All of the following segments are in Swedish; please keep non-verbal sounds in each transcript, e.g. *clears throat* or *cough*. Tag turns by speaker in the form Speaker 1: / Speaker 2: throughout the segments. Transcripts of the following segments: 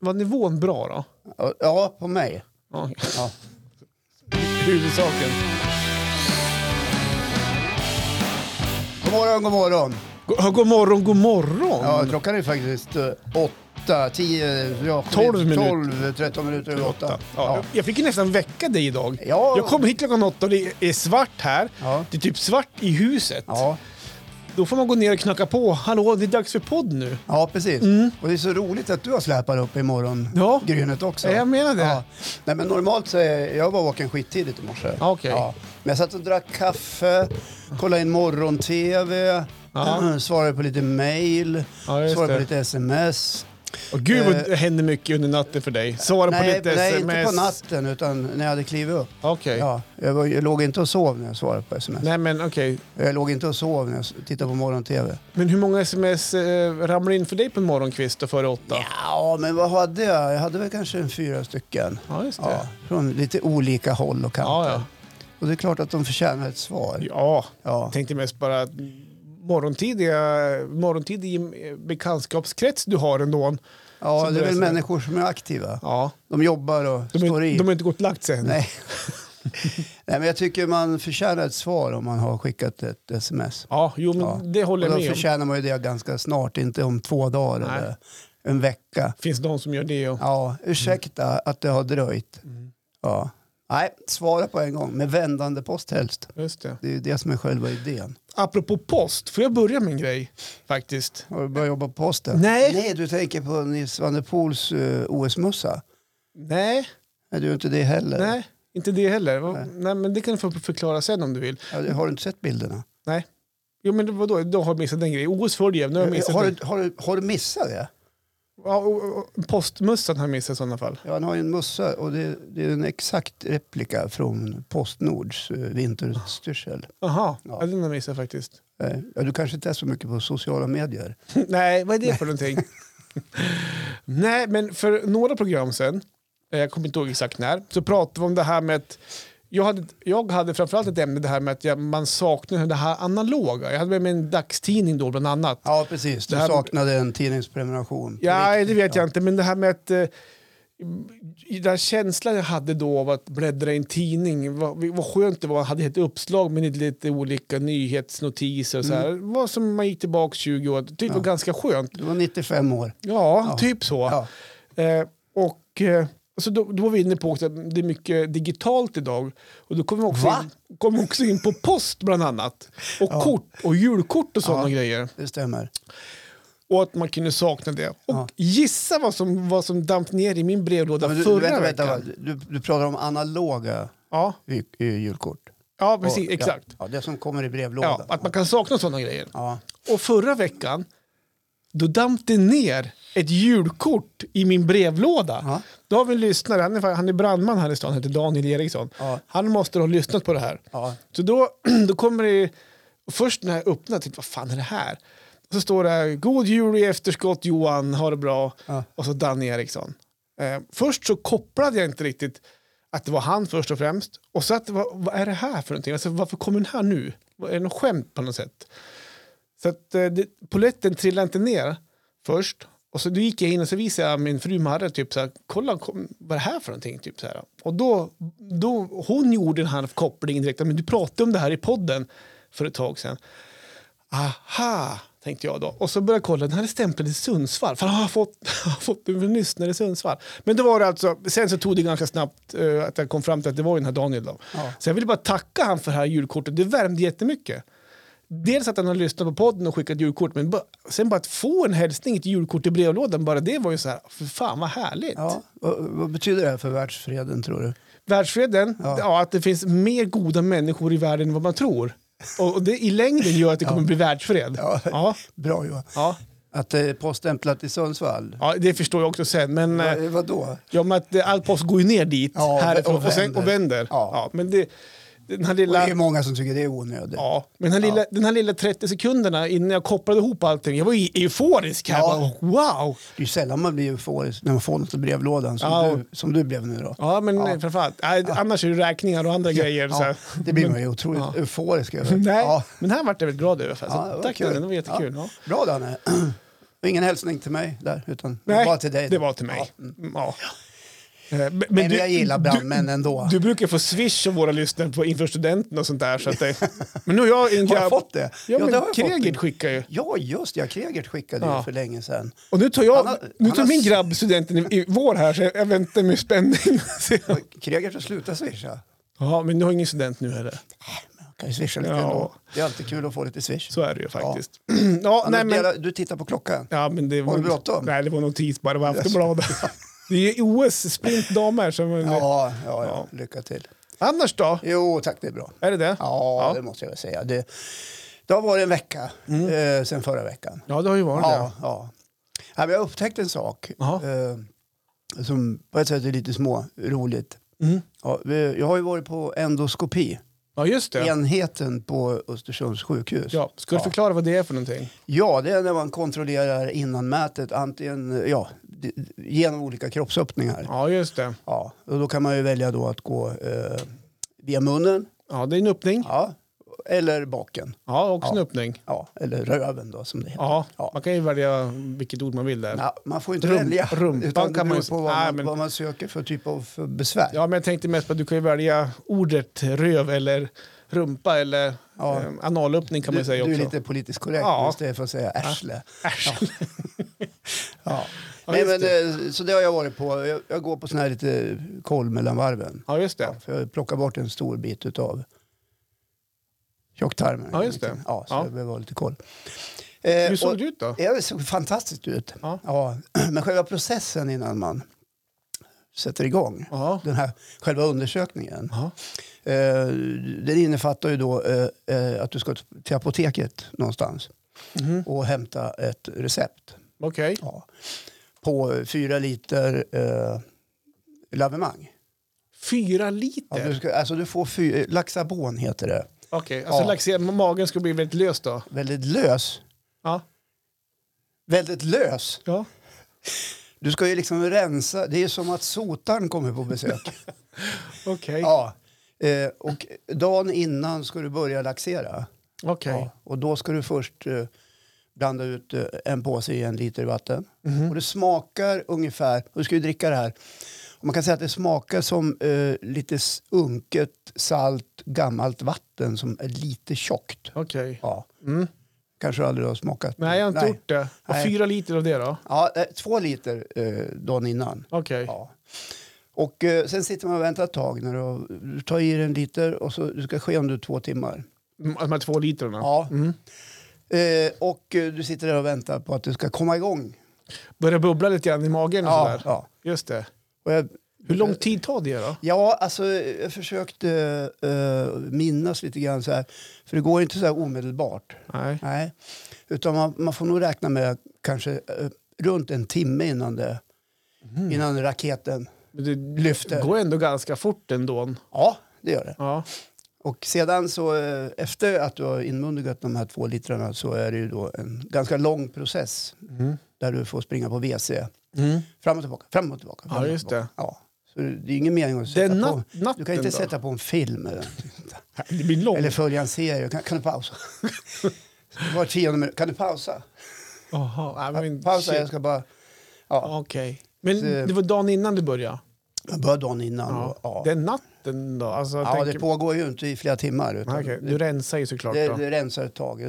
Speaker 1: Var nivån bra då?
Speaker 2: Ja, på mig.
Speaker 1: Ja.
Speaker 2: Ja.
Speaker 1: Huvudsaken.
Speaker 2: God morgon, god morgon.
Speaker 1: Go- ja, God morgon, god morgon.
Speaker 2: Ja, klockan är faktiskt eh, åtta, tio, ja,
Speaker 1: Tolv minuter.
Speaker 2: tolv, tretton minuter över åtta.
Speaker 1: Ja. jag- Jag fick ju nästan väcka dig idag.
Speaker 2: Ja.
Speaker 1: Jag kom hit klockan åtta och det är svart här.
Speaker 2: Ja.
Speaker 1: Det är typ svart i huset.
Speaker 2: Ja,
Speaker 1: Då får man gå ner och knacka på. Hallå, det är dags för podd nu.
Speaker 2: ja precis. Och det är så roligt att du har släpat upp i morgon
Speaker 1: Mm. Ja.
Speaker 2: grynet också.
Speaker 1: Ja, jag menar det.
Speaker 2: Ja. Nej, men normalt så är jag var vaken skittidigt i morse.
Speaker 1: Ja, okej.
Speaker 2: Men jag satt och drack kaffe, kollade in morgon-tv,
Speaker 1: Ja.
Speaker 2: *clears throat* svarade på lite mail,
Speaker 1: Ja, just
Speaker 2: svarade på
Speaker 1: det.
Speaker 2: lite sms.
Speaker 1: Och gud vad
Speaker 2: Eh.
Speaker 1: det händer mycket under natten för dig. Svara på
Speaker 2: nej,
Speaker 1: lite
Speaker 2: nej,
Speaker 1: sms.
Speaker 2: inte på natten utan när jag hade klivit upp.
Speaker 1: Okej.
Speaker 2: Ja, jag, var, jag låg inte och sov när jag svarade på sms.
Speaker 1: Nej men okej.
Speaker 2: Jag låg inte och sov när jag s- tittade på morgon-tv.
Speaker 1: Men hur många sms eh, ramlar in för dig på en morgonkvist då före åtta?
Speaker 2: Ja, men vad hade jag? Jag hade väl kanske en fyra stycken.
Speaker 1: Ja, just det.
Speaker 2: Ja,
Speaker 1: Ja,
Speaker 2: från lite olika håll och kanter.
Speaker 1: ja. ja.
Speaker 2: Och det är klart att de förtjänar ett svar. Ja,
Speaker 1: Jag tänkte mest bara att morgontid är, morgontid är bekantskapskrets du har ändå.
Speaker 2: ja
Speaker 1: Så
Speaker 2: det är väl
Speaker 1: det är så.
Speaker 2: människor som är aktiva.
Speaker 1: Ja.
Speaker 2: De jobbar och
Speaker 1: De,
Speaker 2: står i.
Speaker 1: är, de har inte gått och lagt sig än.
Speaker 2: Nej. *laughs* Nej, men jag tycker man förtjänar ett svar om man har skickat ett sms.
Speaker 1: Ja, jo, men
Speaker 2: Ja.
Speaker 1: det håller
Speaker 2: Och
Speaker 1: jag
Speaker 2: då
Speaker 1: med om.
Speaker 2: förtjänar man ju det ganska snart, inte om två dagar
Speaker 1: Nej.
Speaker 2: eller en vecka.
Speaker 1: finns de som gör det. Och,
Speaker 2: Ja, ursäkta
Speaker 1: Mm.
Speaker 2: att det har dröjt. Ja. Nej, svara på en gång med vändande post helst.
Speaker 1: just det.
Speaker 2: Det är ju det som är själva idén.
Speaker 1: Apropå post, får jag börja med en grej faktiskt?
Speaker 2: Har du börjat jobba på posten?
Speaker 1: Nej.
Speaker 2: Nej, du tänker på Nils van der Poels eh, OS-mössa.
Speaker 1: Nej,
Speaker 2: Nej, du är inte det heller.
Speaker 1: nej, inte det heller. Nej. men det kan du få förklara sen om du vill.
Speaker 2: Ja, det- Har du inte sett bilderna?
Speaker 1: Nej. Jo, men vadå, då har jag missat en grej. OS Fördjev, nu har jag missat
Speaker 2: Eh, Har
Speaker 1: en.
Speaker 2: du, har, du, har du missat det?
Speaker 1: Ja, och- och- Postmössan har jag missat i sådana fall.
Speaker 2: Ja, han har ju en mössa och det, det är en exakt replika från Postnords eh, vinterutstyrsel.
Speaker 1: Jaha, ja.
Speaker 2: Ja.
Speaker 1: den har jag missat faktiskt.
Speaker 2: Eh, Ja, du kanske inte är så mycket på sociala medier.
Speaker 1: Nej, vad är det för någonting? Nej, men för några program sen, eh, jag kommer inte ihåg exakt när, så pratade vi om det här med att jag hade, jag hade framförallt ett ämne det här med att jag, man saknar det här analoga. Jag hade med mig en dagstidning då bland annat.
Speaker 2: Ja, precis. Du
Speaker 1: Det här-
Speaker 2: saknade en tidningsprenumeration. på
Speaker 1: Ja,
Speaker 2: riktigt.
Speaker 1: det vet jag inte, men det här med att eh, i den här känslan jag hade då av att bläddra i en tidning, vad, vad skönt det var, jag hade ett uppslag med lite, lite olika nyhetsnotiser och så här. Det var som man gick tillbaka 20 år, tyckte det var ganska skönt.
Speaker 2: Du var 95 år.
Speaker 1: Ja,
Speaker 2: Ja.
Speaker 1: typ så.
Speaker 2: Ja.
Speaker 1: Eh, och eh, så då, då var vi inne på också att det är mycket digitalt idag. Och då kom vi också,
Speaker 2: Va?
Speaker 1: in, kom vi också in på post bland annat. Och kort och julkort och sådana
Speaker 2: Ja.
Speaker 1: grejer.
Speaker 2: Det stämmer.
Speaker 1: Och att man kunde sakna det. Och
Speaker 2: Ja.
Speaker 1: gissa vad som, vad som damp ner i min brevlåda
Speaker 2: Ja, men du,
Speaker 1: förra
Speaker 2: vänta, vänta,
Speaker 1: veckan.
Speaker 2: va? du, du pratar om analoga
Speaker 1: Ja,
Speaker 2: ju- ju- julkort.
Speaker 1: ja, precis.
Speaker 2: Och-
Speaker 1: exakt.
Speaker 2: Ja, ja, det som kommer i
Speaker 1: Ja,
Speaker 2: brevlådan.
Speaker 1: att man kan sakna sådana grejer.
Speaker 2: Ja.
Speaker 1: Och förra veckan, då damp det ner ett julkort i min brevlåda.
Speaker 2: Ja.
Speaker 1: Då har vi en lyssnare, han är, han är brandman här i stan, heter Daniel Eriksson.
Speaker 2: Ja.
Speaker 1: Han måste ha lyssnat på det här.
Speaker 2: Ja.
Speaker 1: Så då, *clears throat* då kommer det, först när jag öppnar, tänkte vad fan är det här? Och så står det här, god jul i efterskott Johan, ha det bra.
Speaker 2: Ja.
Speaker 1: Och så Danny Eriksson. Eh, först så kopplade jag inte riktigt att det var han först och främst. Och så att, vad, vad är det här för någonting? Alltså, varför kommer den här nu? Vad- Är det något skämt på något sätt? Så att eh, det, poletten trillade inte ner först. Och så då gick jag in och så visade jag min fru Marre typ så här, kolla kom, vad är det här för någonting? Typ så här. Och då, då, hon gjorde den här kopplingen direkt, men du pratade om det här i podden för ett tag sedan. Aha, tänkte jag då. Och så började jag kolla, den här är stämplad i Sundsvall. Fan, har jag fått, *laughs* har jag fått den från lyssnare i Sundsvall? Men det var det alltså, sen så tog det ganska snabbt eh, att jag kom fram till att det var ju den här Daniel då.
Speaker 2: Ja.
Speaker 1: Så jag ville bara tacka han för det här julkortet, det värmde jättemycket. Dels att han har lyssnat på podden och skickat julkort, men bara, sen bara att få en hälsning, ett julkort i brevlådan, bara det var ju så här, för fan vad härligt.
Speaker 2: Ja. Vad, vad betyder det här för världsfreden tror du?
Speaker 1: Världsfreden,
Speaker 2: Ja.
Speaker 1: ja. att det finns mer goda människor i världen än vad man tror. Och och det i längden gör att det kommer bli världsfred.
Speaker 2: Ja.
Speaker 1: Ja.
Speaker 2: Bra Johan.
Speaker 1: Ja.
Speaker 2: Att det är poststämplat i Sundsvall.
Speaker 1: Ja, det förstår jag också sen. Men, eh,
Speaker 2: Va, vadå?
Speaker 1: ja, men att eh, all post går ju ner dit
Speaker 2: Ja,
Speaker 1: härifrån
Speaker 2: och
Speaker 1: och, sen, och vänder.
Speaker 2: Ja.
Speaker 1: Ja. men det, den här
Speaker 2: Och det
Speaker 1: lilla...
Speaker 2: är många som tycker det är onödigt.
Speaker 1: Ja, men den här, lilla, den här lilla 30 sekunderna innan jag kopplade ihop allting, jag var ju e- euforisk här.
Speaker 2: Ja.
Speaker 1: Bara, wow!
Speaker 2: Det är ju sällan man blir euforisk när man får något i brevlådan som,
Speaker 1: Ja,
Speaker 2: du, som du blev nu då.
Speaker 1: Ja, men ja. framförallt, nej, annars är det räkningar och andra grejer. Så
Speaker 2: Ja,
Speaker 1: här.
Speaker 2: det blir man ju otroligt
Speaker 1: Ja.
Speaker 2: euforisk över.
Speaker 1: Nej,
Speaker 2: Ja.
Speaker 1: men det här vart jag väldigt glad över. Så
Speaker 2: Ja, det var
Speaker 1: Alltså, tack
Speaker 2: kul.
Speaker 1: Danne, det var jättekul. Ja.
Speaker 2: Bra Danne. *clears throat* Och ingen hälsning till mig där, utan
Speaker 1: Nej,
Speaker 2: bara till dig.
Speaker 1: det var till mig.
Speaker 2: Ja. Mm.
Speaker 1: Ja. Eh, Men, men
Speaker 2: Men jag gillar brandmän ändå.
Speaker 1: Du brukar få swish av våra lyssnare på inför studenten och sånt där. Så att det,
Speaker 2: *laughs*
Speaker 1: men nu har jag en
Speaker 2: har jag
Speaker 1: grabb-
Speaker 2: fått det?
Speaker 1: Ja, men
Speaker 2: det har jag fått.
Speaker 1: Kregert skickar ju.
Speaker 2: Ja, just det. Ja, Kregert skickade ju
Speaker 1: Ja.
Speaker 2: för länge sedan.
Speaker 1: Och nu tar, jag,
Speaker 2: Han har-
Speaker 1: nu
Speaker 2: han
Speaker 1: tar
Speaker 2: har-
Speaker 1: min grabb studenten i, i vår här, så jag, jag väntar med
Speaker 2: *laughs*
Speaker 1: spänning.
Speaker 2: Och Kregert har slutat swisha.
Speaker 1: ja, men du har ingen student nu heller.
Speaker 2: Man kan ju swisha lite
Speaker 1: Ja.
Speaker 2: ändå. Det är alltid kul att få lite swish.
Speaker 1: Så är det ju faktiskt. *clears throat* Ja, nej, men,
Speaker 2: Delar- Du tittar på klockan.
Speaker 1: ja, men det var,
Speaker 2: du bråttom?
Speaker 1: Nej, det var notis bara. Det var
Speaker 2: *laughs*
Speaker 1: Aftonbladet. det är ju OS sprint damer som...
Speaker 2: Ja, ja, ja. Lycka till.
Speaker 1: Annars då?
Speaker 2: Jo, tack. Det är bra.
Speaker 1: Är det det?
Speaker 2: Ja,
Speaker 1: Ja. Mm.
Speaker 2: det måste jag väl säga. Det, det har varit en vecka eh, sen förra veckan.
Speaker 1: Ja, det har ju varit det.
Speaker 2: Ja, ja. ja men jag upptäckte en sak
Speaker 1: Jaha.
Speaker 2: eh, som på ett sätt är lite små roligt.
Speaker 1: Mm.
Speaker 2: Ja, eh, jag har ju varit på endoskopi,
Speaker 1: Ja, just det.
Speaker 2: enheten på Östersunds sjukhus.
Speaker 1: Ja, ska du
Speaker 2: Ja.
Speaker 1: förklara vad det är för någonting?
Speaker 2: Ja, det är när man kontrollerar innanmätet antingen ja, d- genom olika kroppsöppningar.
Speaker 1: Ja, just det.
Speaker 2: Ja, och då kan man ju välja då att gå eh, via munnen
Speaker 1: Ja, det är en öppning.
Speaker 2: ja, eller baken.
Speaker 1: Ja, också en
Speaker 2: Ja.
Speaker 1: öppning.
Speaker 2: Ja, eller röven då som det heter.
Speaker 1: Ja,
Speaker 2: Ja.
Speaker 1: man kan ju välja vilket ord man vill där.
Speaker 2: Ja, man får ju inte
Speaker 1: Rum-
Speaker 2: välja.
Speaker 1: rumpan
Speaker 2: utan det
Speaker 1: kan man
Speaker 2: beror
Speaker 1: ju-
Speaker 2: på vad,
Speaker 1: Nej,
Speaker 2: man,
Speaker 1: men-
Speaker 2: vad man söker för typ av för besvär.
Speaker 1: Ja, men jag tänkte mest på att du kan ju välja ordet röv eller rumpa eller
Speaker 2: Ja.
Speaker 1: eh, analöppning kan man
Speaker 2: du,
Speaker 1: ju säga
Speaker 2: du är
Speaker 1: också.
Speaker 2: lite politiskt korrekt
Speaker 1: Ja.
Speaker 2: istället för att säga ärsle.
Speaker 1: Äsch.
Speaker 2: Ja.
Speaker 1: Ja,
Speaker 2: Nej,
Speaker 1: just
Speaker 2: men, eh, så det har jag varit på. Jag, jag går på sån här lite koll mellan varven.
Speaker 1: Ja, just det.
Speaker 2: Ja, för jag plockar bort en stor bit utav tjocktarmen.
Speaker 1: Ja, just det.
Speaker 2: Ja, så
Speaker 1: Ja.
Speaker 2: jag behöver ha lite koll. Eh,
Speaker 1: Hur såg
Speaker 2: och-
Speaker 1: det ut då?
Speaker 2: Ja, det såg fantastiskt ut.
Speaker 1: Ja.
Speaker 2: *clears throat* Men själva processen innan man sätter igång
Speaker 1: Ja.
Speaker 2: den här själva undersökningen.
Speaker 1: Ja.
Speaker 2: Eh, den innefattar ju då eh, eh, att du ska till apoteket någonstans
Speaker 1: Mhm.
Speaker 2: och hämta ett recept
Speaker 1: Okej.
Speaker 2: ja, på fyra liter eh, lavemang.
Speaker 1: Fyra
Speaker 2: Ja,
Speaker 1: liter?
Speaker 2: du, ska, alltså du får fy, Laxabon heter det.
Speaker 1: Okej, alltså
Speaker 2: Ja.
Speaker 1: laxer- magen ska bli väldigt lös då?
Speaker 2: Väldigt lös.
Speaker 1: Ja.
Speaker 2: Väldigt lös.
Speaker 1: ja.
Speaker 2: Du ska ju liksom rensa. Det är som att sotaren kommer på besök.
Speaker 1: Okej.
Speaker 2: Ja. Eh, och dagen innan ska du börja laxera.
Speaker 1: Okej.
Speaker 2: Ja. Och då ska du först eh, blanda ut eh, en påse i en liter vatten.
Speaker 1: Mhm.
Speaker 2: Och det smakar ungefär, och du ska ju dricka det här. Och man kan säga att det smakar som eh, lite s- unket, salt, gammalt vatten som är lite tjockt.
Speaker 1: Okej.
Speaker 2: Ja.
Speaker 1: Mm.
Speaker 2: Kanske du aldrig har smakat.
Speaker 1: Nej, jag har inte gjort det. Och
Speaker 2: Nej.
Speaker 1: fyra liter av det då?
Speaker 2: Ja, eh, två liter eh, dagen innan.
Speaker 1: Okej.
Speaker 2: Ja. Och eh, sen sitter man och väntar ett tag. När du, har- du tar i dig en liter och så du ska ske under två timmar.
Speaker 1: Mm, De här två literna?
Speaker 2: Ja.
Speaker 1: Mm.
Speaker 2: Eh, och eh, du sitter där och väntar på att du ska komma igång.
Speaker 1: Börjar bubbla lite grann i magen och
Speaker 2: Ja,
Speaker 1: sådär?
Speaker 2: ja.
Speaker 1: Just det.
Speaker 2: Och jag,
Speaker 1: Hur lång tid tar det då?
Speaker 2: ja, alltså eh, jag försökte eh, minnas lite grann så här. För det går inte så här omedelbart.
Speaker 1: Nej.
Speaker 2: Nej. Utan man, man får nog räkna med kanske eh, runt en timme innan det. Innan raketen.
Speaker 1: Men det
Speaker 2: Lyfter.
Speaker 1: går ändå ganska fort ändå.
Speaker 2: Ja, det gör det.
Speaker 1: Ja.
Speaker 2: Och sedan så eh, efter att du har inmundigat de här två litrarna så är det ju då en ganska lång process
Speaker 1: Mm.
Speaker 2: där du får springa på WC.
Speaker 1: Mm.
Speaker 2: Fram och tillbaka, fram och tillbaka. Fram
Speaker 1: Ja,
Speaker 2: och
Speaker 1: just
Speaker 2: tillbaka.
Speaker 1: det.
Speaker 2: Ja. Så det är ingen mening att
Speaker 1: Det är
Speaker 2: sätta på...
Speaker 1: nat- natten
Speaker 2: Du kan inte
Speaker 1: då.
Speaker 2: sätta på en film eller,
Speaker 1: Det blir långt.
Speaker 2: eller följa en serie. Kan, kan
Speaker 1: *laughs*
Speaker 2: du pausa? Var tionde minut. Kan du pausa?
Speaker 1: Jaha, I mean,
Speaker 2: Pausa,
Speaker 1: shit.
Speaker 2: jag ska bara... Ja,
Speaker 1: Okej. Men
Speaker 2: Så-
Speaker 1: det var dagen innan du började?
Speaker 2: jag börjar dagen innan. Ja. Ja.
Speaker 1: Den natten då? Alltså, jag
Speaker 2: ja, det
Speaker 1: tänker-
Speaker 2: pågår ju inte i flera timmar. Utan
Speaker 1: Ah, okej. Du rensar ju såklart
Speaker 2: Det,
Speaker 1: då.
Speaker 2: det rensar ett tag.